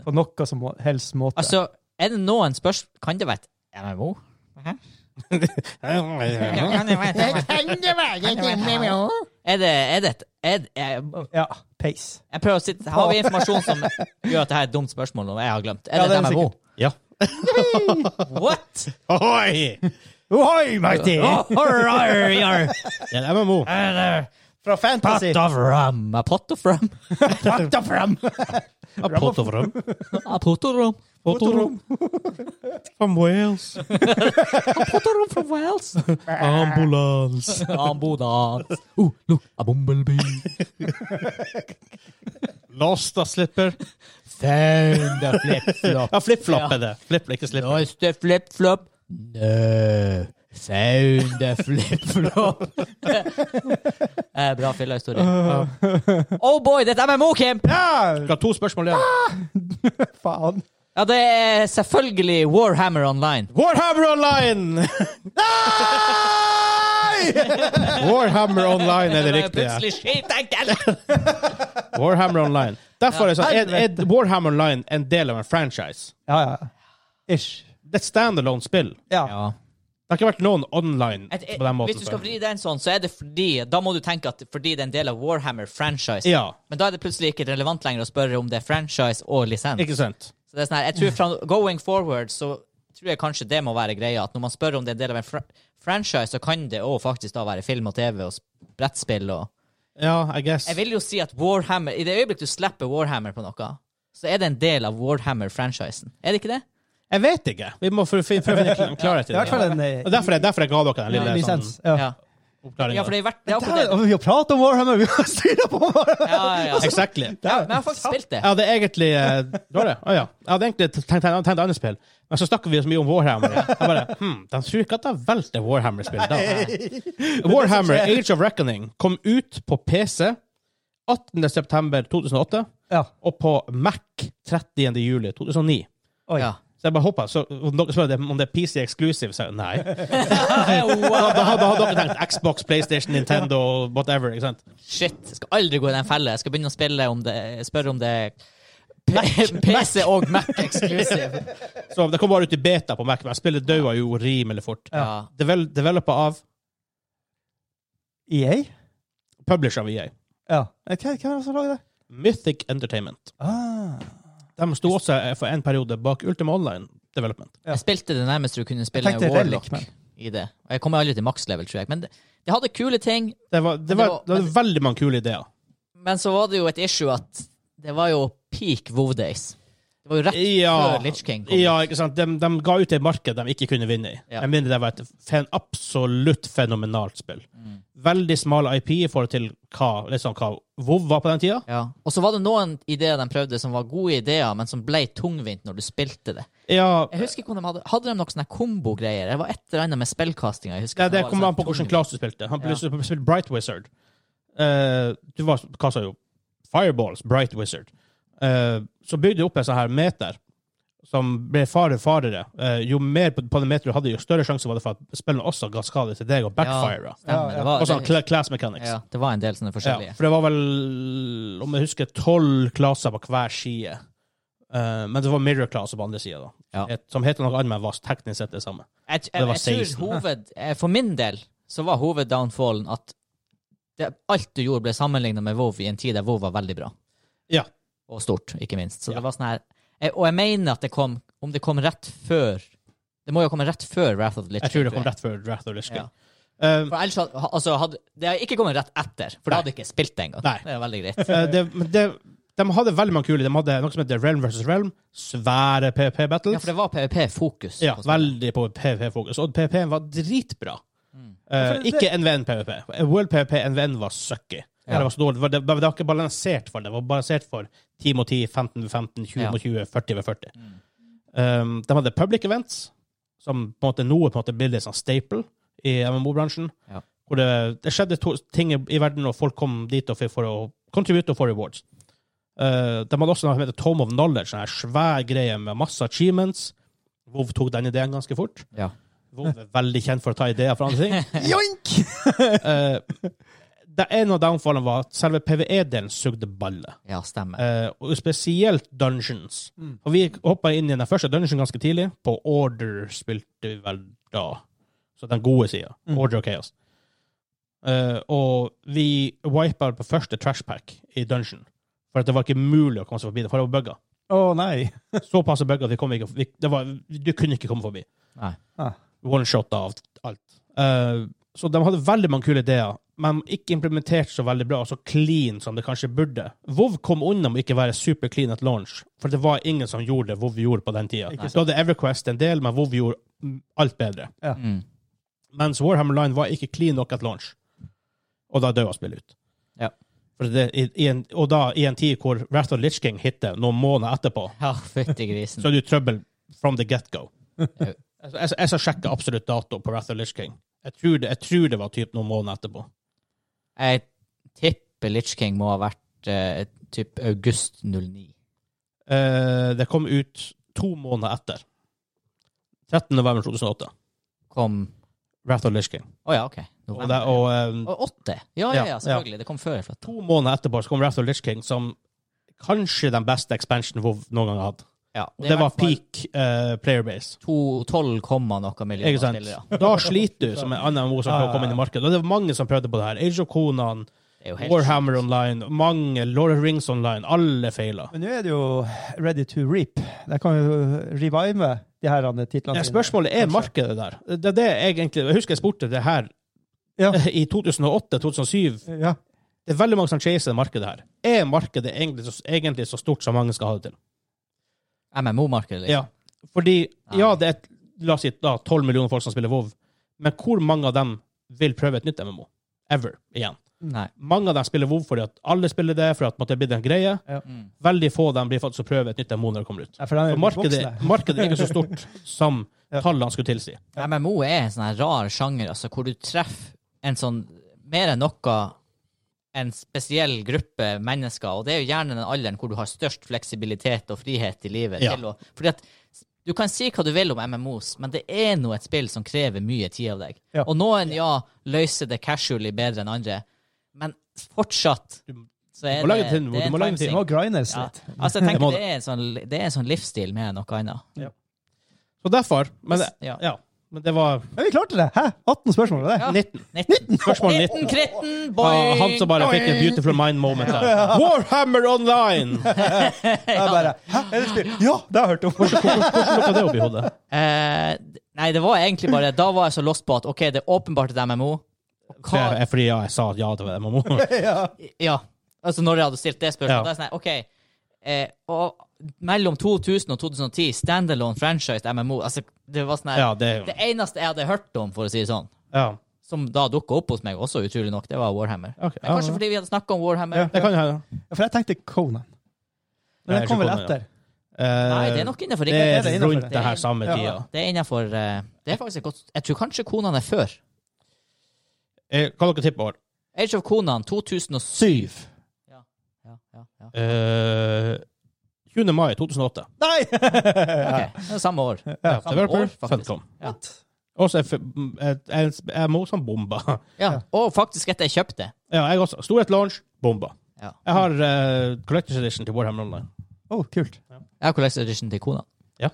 C: på noe som helst måte.
A: altså, er det noen spørsmål Kan det være et MMO? Kan det være et Er det, er det et er, det- jeg,
C: ja, pace.
A: jeg prøver å sitte Har vi informasjon som gjør at det her er et dumt spørsmål nå, jeg har glemt? Er
C: Ja,
A: det
C: det er
A: et
C: det
A: MMO?
B: Ja.
A: What?!
B: Ohoi!
C: Ohoi, mighty!
B: Det er en MMO.
C: Fra
B: Ah,
C: Fantasy.
A: of rum. A pot of rum.
C: Pot of rum.
B: Apotorum.
A: A pot of rum.
B: Apotorum. From Wales.
A: Pot of rum from Wales.
B: Ambulance.
A: Ambulans.
C: Uh,
A: Oh, look, a bumblebee.
B: Lasta slipper.
A: Found a flip-flop.
B: Ja, flip-flop er det. Flip, ikke slipper.
A: Lost a flip-flop. No. Found a flip-flop. eh, bra filla-historie. Oh boy, det er et MMO-camp!
C: Ja,
B: Skal ha to spørsmål igjen.
C: faen.
A: Ja, det er selvfølgelig Warhammer Online.
B: Warhammer Online! Warhammer Online er det riktige.
A: eh, Plutselig skitenkelt!
B: Warhammer Online. Derfor er, det sånn, er, er Warhammer Online en del av en franchise.
C: Ja, ja. Ish.
B: Det er et standalone-spill.
C: Ja.
A: Ja.
B: Det har ikke vært noen online
A: Et, et,
B: på den måten.
A: hvis du skal
B: før.
A: vri den sånn, så er det fordi Da må du tenke at fordi det er en del av Warhammer-franchise.
B: Ja,
A: Men da er det plutselig ikke relevant lenger å spørre om det er franchise og lisens.
B: ikke sant?
A: Så det er sånn her, jeg tror fra Going forward så tror jeg kanskje det må være greia, at når man spør om det er en del av en fra franchise, så kan det òg faktisk da være film og TV og s- brettspill og
B: Ja, I guess.
A: Jeg vil jo si at Warhammer I det øyeblikk du slipper Warhammer på noe, så er det en del av Warhammer-franchisen. Er det ikke det?
B: Jeg vet ikke. Vi må prøve å finne kl- klarhet i
C: Det er i
B: det.
C: hvert fall en eh,
B: Og derfor, er- derfor jeg ga dere den lille sånn,
C: lisens. Ja.
A: Ja, ja for
B: oppklaringen.
A: det er verdt det. Er akkurat
C: Der,
A: det.
C: og vi har pratet om Warhammer, vi har styra på Warhammer!
A: Ja, ja, ja.
B: Exactly.
A: Ja, men jeg har faktisk spilt det.
B: Jeg hadde egentlig eh, det var det? Å ja. Jeg hadde egentlig tenkt, tenkt, tenkt annet spill, men så snakker vi så mye om Warhammer. Jeg bare, hm, De tror ikke at jeg valgte Warhammer-spill da. Warhammer Age of Reckoning kom ut på PC 18.9.2008
C: Ja.
B: og på Mac 30.07.2009.
C: Oi.
A: Ja.
B: Så jeg bare hoppa. Så om dere spør om det er PC exclusive, så nei.
A: Wow.
B: Da hadde da hadde dere tenkt Xbox, PlayStation, Nintendo, whatever. ikke sant?
A: Shit, jeg skal aldri gå i den fella. Jeg skal begynne å spille om det, spørre om det er P- PC og Mac exclusive.
B: Så det kom bare ut i beta på Mac, men spillet daua jo rimelig fort.
A: Ja.
B: Devel Developa av
C: EA?
B: Publisher av EA.
C: E Ja. Eh, Hva, hvem er det som lager det?
B: Mythic Entertainment.
C: Ah.
B: De sto også eh, for en periode bak Ultima Online Development.
C: Ja.
A: Jeg spilte det nærmeste du kunne spille
C: tenkte
A: en Warlock
C: Relic, men-
A: i det. Og jeg kommer aldri til maks level, tror jeg. Men det, det hadde kule ting.
B: Det var, det
A: Men det
B: var,
A: var-
B: det var veldig mange kule ideer.
A: Men så var det jo et issue at det var jo peak WoW days. Det var jo rett
B: Ja.
A: før Litch King kom.
B: Ja, ikke sant? De, de ga ut et marked de ikke kunne vinne i.
A: Ja.
B: Jeg mener det var et fen, absolutt fenomenalt spill.
A: Mm.
B: Veldig smal IP i forhold til hva, liksom, hva WoW var på den tida.
A: Ja. Og så var det noen ideer de prøvde som var gode ideer, men som ble tungvint når du spilte det.
B: Ja,
A: Jeg husker ikke om de Hadde Hadde de noen sånne kombogreier? Det var et eller annet med spillkastinga. jeg husker
B: det,
A: at
B: det
A: var
B: kommer
A: sånn
B: an på hvilken
A: tungvint.
B: klasse du spilte. Han
A: Ja.
B: spilte spilte Bright Wizard. Eh, du var, hva sa jo? Fireballs, Bright Wizard. Eh, så bygde du opp en sånn her meter som ble fare farere. Eh, jo mer på, på den meteren du hadde, jo større sjanse var det for at spillene også ga skade til deg og backfire.
A: Stemmer.
C: Ja, ja.
A: Det var,
B: Og sånn
A: det,
B: cla- class mechanics.
A: ja, det var en del sånne
B: Ja,
A: forskjellige.
B: for det var vel, om jeg husker, tolv klasser på hver side. Eh, men det var mirror-klasse på andre sida, da.
A: Ja.
B: Et, som heter noe annet, men var teknisk sett det samme.
A: Jeg,
B: Det var
A: jeg, jeg
B: 16.
A: tror hoved eh, For min del så var hoveddownfallen at det, alt du gjorde, ble sammenligna med WoW i en tid der WoW var veldig bra.
B: Ja.
A: Og stort, ikke minst. Så
B: Ja.
A: det var sånn her jeg, Og jeg mener at det kom Om det kom rett før Det må jo ha kommet rett før Wrath of the Lich
B: Jeg tror det kom
A: King.
B: rett før Wrath of the Lich King.
A: Ja.
B: Eh,
A: For ellers hadde, ha- altså, hadde, Det har ikke kommet rett etter, for da hadde jeg ikke spilt det engang.
B: Nei.
A: Det er veldig greit.
B: eh, det, men det, de hadde veldig mange kule. De hadde noe som heter Realm versus Realm. Svære PVP-battles.
A: Ja, for det var PVP-fokus.
B: Ja, veldig på PVP-fokus. Og PVP-en var dritbra.
A: Mm.
B: Eh,
C: Ja, for det-
B: ikke NVN-PVP. World PVP NVN var sucky.
A: Ja.
B: Det, var så dårlig. det, var, det, var- det var ikke balansert for det. Det var balansert for 10 mot 10, 15 mot 15, 20
A: Ja.
B: mot 20, 40 mot 40. Um, de hadde public events, som på en måte nå er på en måte blir litt sånn staple i MMO-bransjen.
A: Ja.
B: Hvor det, det skjedde to ting i i verden, og folk kom dit og fikk for å contribute og få rewards. Eh, de hadde også noe som heter Tome of Knowledge, en sånn svær greie med masse achievements. WoW tok den ideen ganske fort.
A: Ja.
B: WoW er veldig kjent for å ta ideer fra andre ting.
C: Joink!
B: Eh, det ene av downfallene var at selve PVE-delen sugde ballet.
A: ja, stemmer.
B: Eh, og spesielt dungeons.
C: Mm.
B: Og vi hoppa inn i den første dungeon ganske tidlig. På Order spilte vi vel da. Så den gode sida.
C: Mm.
B: Order og Chaos. Eh, og vi wipa på første trashpack i dungeon. For at det var ikke mulig å komme seg forbi det, for det var bugga.
C: Å nei.
B: Såpass bugga at vi kom ikke vi, det var, Du kunne ikke komme forbi.
A: Nei.
C: Ah.
B: One-shot av alt. Eh, så de hadde veldig mange kule ideer, men ikke implementert så veldig bra, så clean som det kanskje burde. WoW kom unna med ikke være super clean at launch, for det var ingen som gjorde det WoW gjorde på den tida.
C: Ikke
B: Da hadde Everquest en del, men WoW gjorde mm, alt bedre.
C: Ja.
A: Mm.
B: Mens Warhammer Line var ikke clean nok at launch. Og da døde spillet ut.
A: Ja.
B: For det, i, i en, og da i en tid hvor Wrath of the Lich King hitter noen måneder etterpå,
A: Ja, fytti grisen.
B: så er det jo trøbbel from the get-go.
A: Ja.
B: jeg, jeg, jeg skal sjekke absolutt dato på Wrath of Lich King. Jeg tror det, jeg tror det var typ noen måneder etterpå.
A: Jeg tipper Lich King må ha vært eh, typ august 09.
B: Eh, det kom ut to måneder etter. 13. november 2008.
A: Kom
B: Wrath of Lich King.
A: Å ja, OK.
B: Og, det, og eh,
A: Og åtte? Ja, ja,
B: Ja,
A: ja, selvfølgelig. Det kom før jeg flytta.
B: to måneder etterpå så kom Wrath of Lich King, som kanskje den beste expansionen WoW noen gang har hatt.
A: Ja,
B: Og det var
A: peak
B: peak eh, player base.
A: 12 komma noe millioner
B: Ikke sant?
A: spillere.
B: Da sliter du, som en annen MMO som
C: Ja,
B: prøver
C: ja,
B: å komme inn i markedet. Og det var mange som prøvde på det her. Age of Conan,
A: Det er jo helt
B: Warhammer Online, mange Lord of the Rings Online. Alle feila.
C: Men nå er det jo ready to reap. De kan jo revive de her andre titlene.
B: Ja,
C: sine.
B: Eh, spørsmålet er
C: Kanskje.
B: markedet der. Det er det jeg egentlig Jeg husker jeg spurte det her
C: Ja.
B: i 2008-2007.
C: Ja.
B: Det er veldig mange som chaser det markedet her. Er markedet egentlig så, egentlig så stort som mange skal ha det til?
A: MMO-markedet, liksom.
B: Ja. Fordi,
A: Nei.
B: ja, det er et- la oss si da 12 millioner folk som spiller WoW, men hvor mange av dem vil prøve et nytt MMO? Ever. Igjen.
A: Nei.
B: Mange av dem spiller WoW fordi at alle spiller det, for at måtte, det blir en greie.
A: Mm.
B: Veldig få av dem blir faktisk å prøve et nytt MMO når det kommer ut.
C: Ja, for de er
B: Så
C: jo
B: markedet,
C: voksne.
B: markedet er ikke så stort som
C: Ja.
B: tallene skulle tilsi.
A: MMO er en sånn her rar sjanger, altså, hvor du treffer en sånn mer enn noe en spesiell gruppe mennesker, og det er jo gjerne den alderen hvor du har størst fleksibilitet og frihet i livet.
B: Ja.
A: Til å, fordi at du kan si hva du vil om MMOs, men det er nå et spill som krever mye tid av deg.
C: Ja.
A: Og noen, ja, løser det casually bedre enn andre, men fortsatt
B: Du-
A: så er
B: du må lage
A: det,
B: en tid,
A: det er
B: du må
A: en
B: lage en tid.
C: Det
A: timesink.
C: må grindes
A: Ja.
C: litt.
A: Altså, jeg
B: Det må
A: tenker det er en sånn, det er en sånn livsstil med noe annet.
B: Så derfor Men, det-
A: Ja.
B: ja, men det var
C: Men vi klarte det! Hæ? 18 spørsmål? Det.
A: Ja.
B: 19.
A: 19.
B: Spørsmål
A: 19
B: 19.
A: kritten,
B: Ah,
A: boing!
B: han som bare fikk en
A: boing.
B: beautiful mind moment her. Warhammer Online!
C: Jeg bare, Hæ? Er det spill? Ja, det har jeg hørt om!
B: Hvordan lukka det opp i hodet?
A: Eh, nei, det var egentlig bare Da var jeg så lost på at OK, det er åpenbart et MMO.
B: Det
A: Hva,
B: er fordi ja, jeg sa ja til det. Mamma.
C: ja.
A: ja, altså når jeg hadde stilt det spørsmålet,
B: Ja.
A: da er jeg sånn OK eh, og Mellom 2000 og 2010, standalone franchise MMO altså, Det var sånn her
B: Ja, det
A: Det eneste jeg hadde hørt om, for å si det sånn,
B: ja.
A: som da dukka opp hos meg også, utrolig nok, det var Warhammer.
B: ok.
A: Men kanskje fordi vi hadde snakka om Warhammer.
C: Ja.
B: Det kan jo hende.
C: eh, For jeg tenkte Conan. Men
B: Nei,
C: den kom vel
B: ikke Conan, ja.
C: etter?
B: Eh,
A: Nei, det er nok innafor.
B: det er
C: det er innenfor
B: rundt
C: det.
B: det her samme
C: Ja.
B: tida.
A: Det er innenfor, eh, Det er faktisk et godt Jeg tror kanskje Konan er før.
B: Eh, Hva dere tipper år?
A: Age of Konan 2007.
C: Syv.
A: Ja, ja, ja.
B: Eh, 20. mai 2008.
C: Nei!
A: Ok, det er samme år.
B: Ja,
A: samme
B: developer,
A: år, faktisk.
B: Funcom.
A: Ja.
B: Også er f- m- et- en- jeg må som bomba.
A: Ja. Og faktisk etter jeg kjøpte.
B: Ja, jeg også. Storhet launch, bomba.
A: Ja.
B: Jeg har eh, Collectors Edition til Warhammer Online.
C: Oh, kult.
A: Jeg har Collector Edition til Konan.
C: Jeg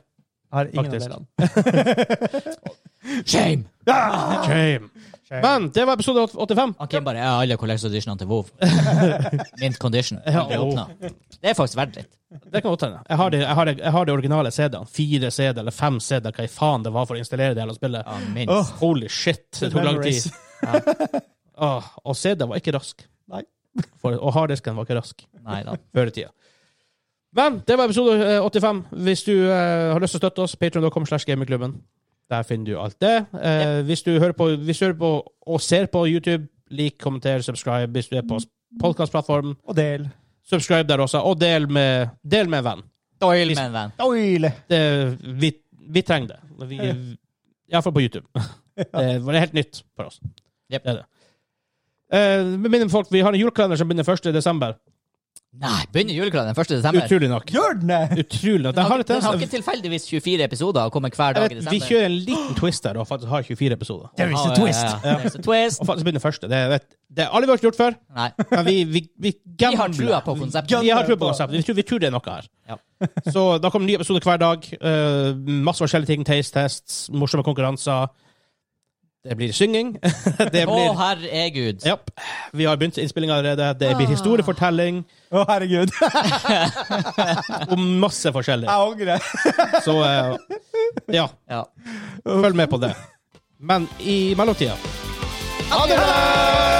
C: har ingen
B: Faktisk.
C: av delene.
A: Shame!
B: Shame. Men det var episode 85.
A: Han Kim bare ja, alle collector's editionene til WoW. Mint condition.
B: Ja,
A: Aldri
B: oh.
A: åpnet. Det er faktisk verdt litt.
B: Det kan godt hende. Jeg har de, jeg har de, jeg har de originale CD-ene. Fire CD eller fem CD, hva i faen det var for å installere det hele spillet.
A: Ja, minst.
C: Åh.
B: Holy shit, det tok lang tid. Åh, og CD var ikke rask.
C: Nei.
B: For, og harddisken var ikke rask
A: Nei da.
B: før i tida. Men det var episode eh, 85. Hvis du eh, har lyst til å støtte oss, patreon.com slash gamingklubben. Der finner du alt det. Eh, hvis, du hører på, hvis du hører på og ser på YouTube, lik, kommenter, subscribe. Hvis du er på podkastplattformen,
C: Og del.
B: subscribe der også. Og del med, del med en venn.
A: Doyle, min venn.
C: Oile!
B: det, vi, vi trenger det. Vi, Iallfall på YouTube. Det var helt nytt for oss.
A: Jep.
B: Det er det. Eh, med mindre folk, Vi har en julekalender som begynner 1. desember.
A: Nei, begynner julekalenderen 1. desember.
B: Utrolig nok.
C: Gjør den det!
B: Utrolig nok.
A: Den
B: Den
A: har,
B: har
A: ikke- den har
B: et
A: ikke tilfeldigvis 24 episoder og kommer hver dag i
B: Eh, vi
A: desember.
B: kjører en liten twist der og faktisk har 24 episoder.
C: There is
A: Ja,
C: a
A: ja,
C: twist!
A: ja, ja. There's a twist.
B: Og faktisk begynner første. Det, vet, det har aldri vært gjort før,
A: Nei.
B: men vi, vi, vi
A: Vi har
B: gambler.
A: trua på konseptet.
B: Vi har trua på konseptet. Vi tror, vi tror det er noe her.
A: Ja.
B: Så da kommer nye episoder hver dag. eh, masse forskjellige ting. Taste tests, morsomme konkurranser. Det blir synging. det
A: Å,
B: blir
A: herregud.
B: Ja. Vi har begynt innspilling allerede. Det
A: Ah.
B: blir historiefortelling
C: Å, herregud.
B: og masse forskjellig.
C: Jeg angrer.
B: Så eh, ja,
A: Ja.
B: følg med på det. Men i mellomtida
C: Ha det!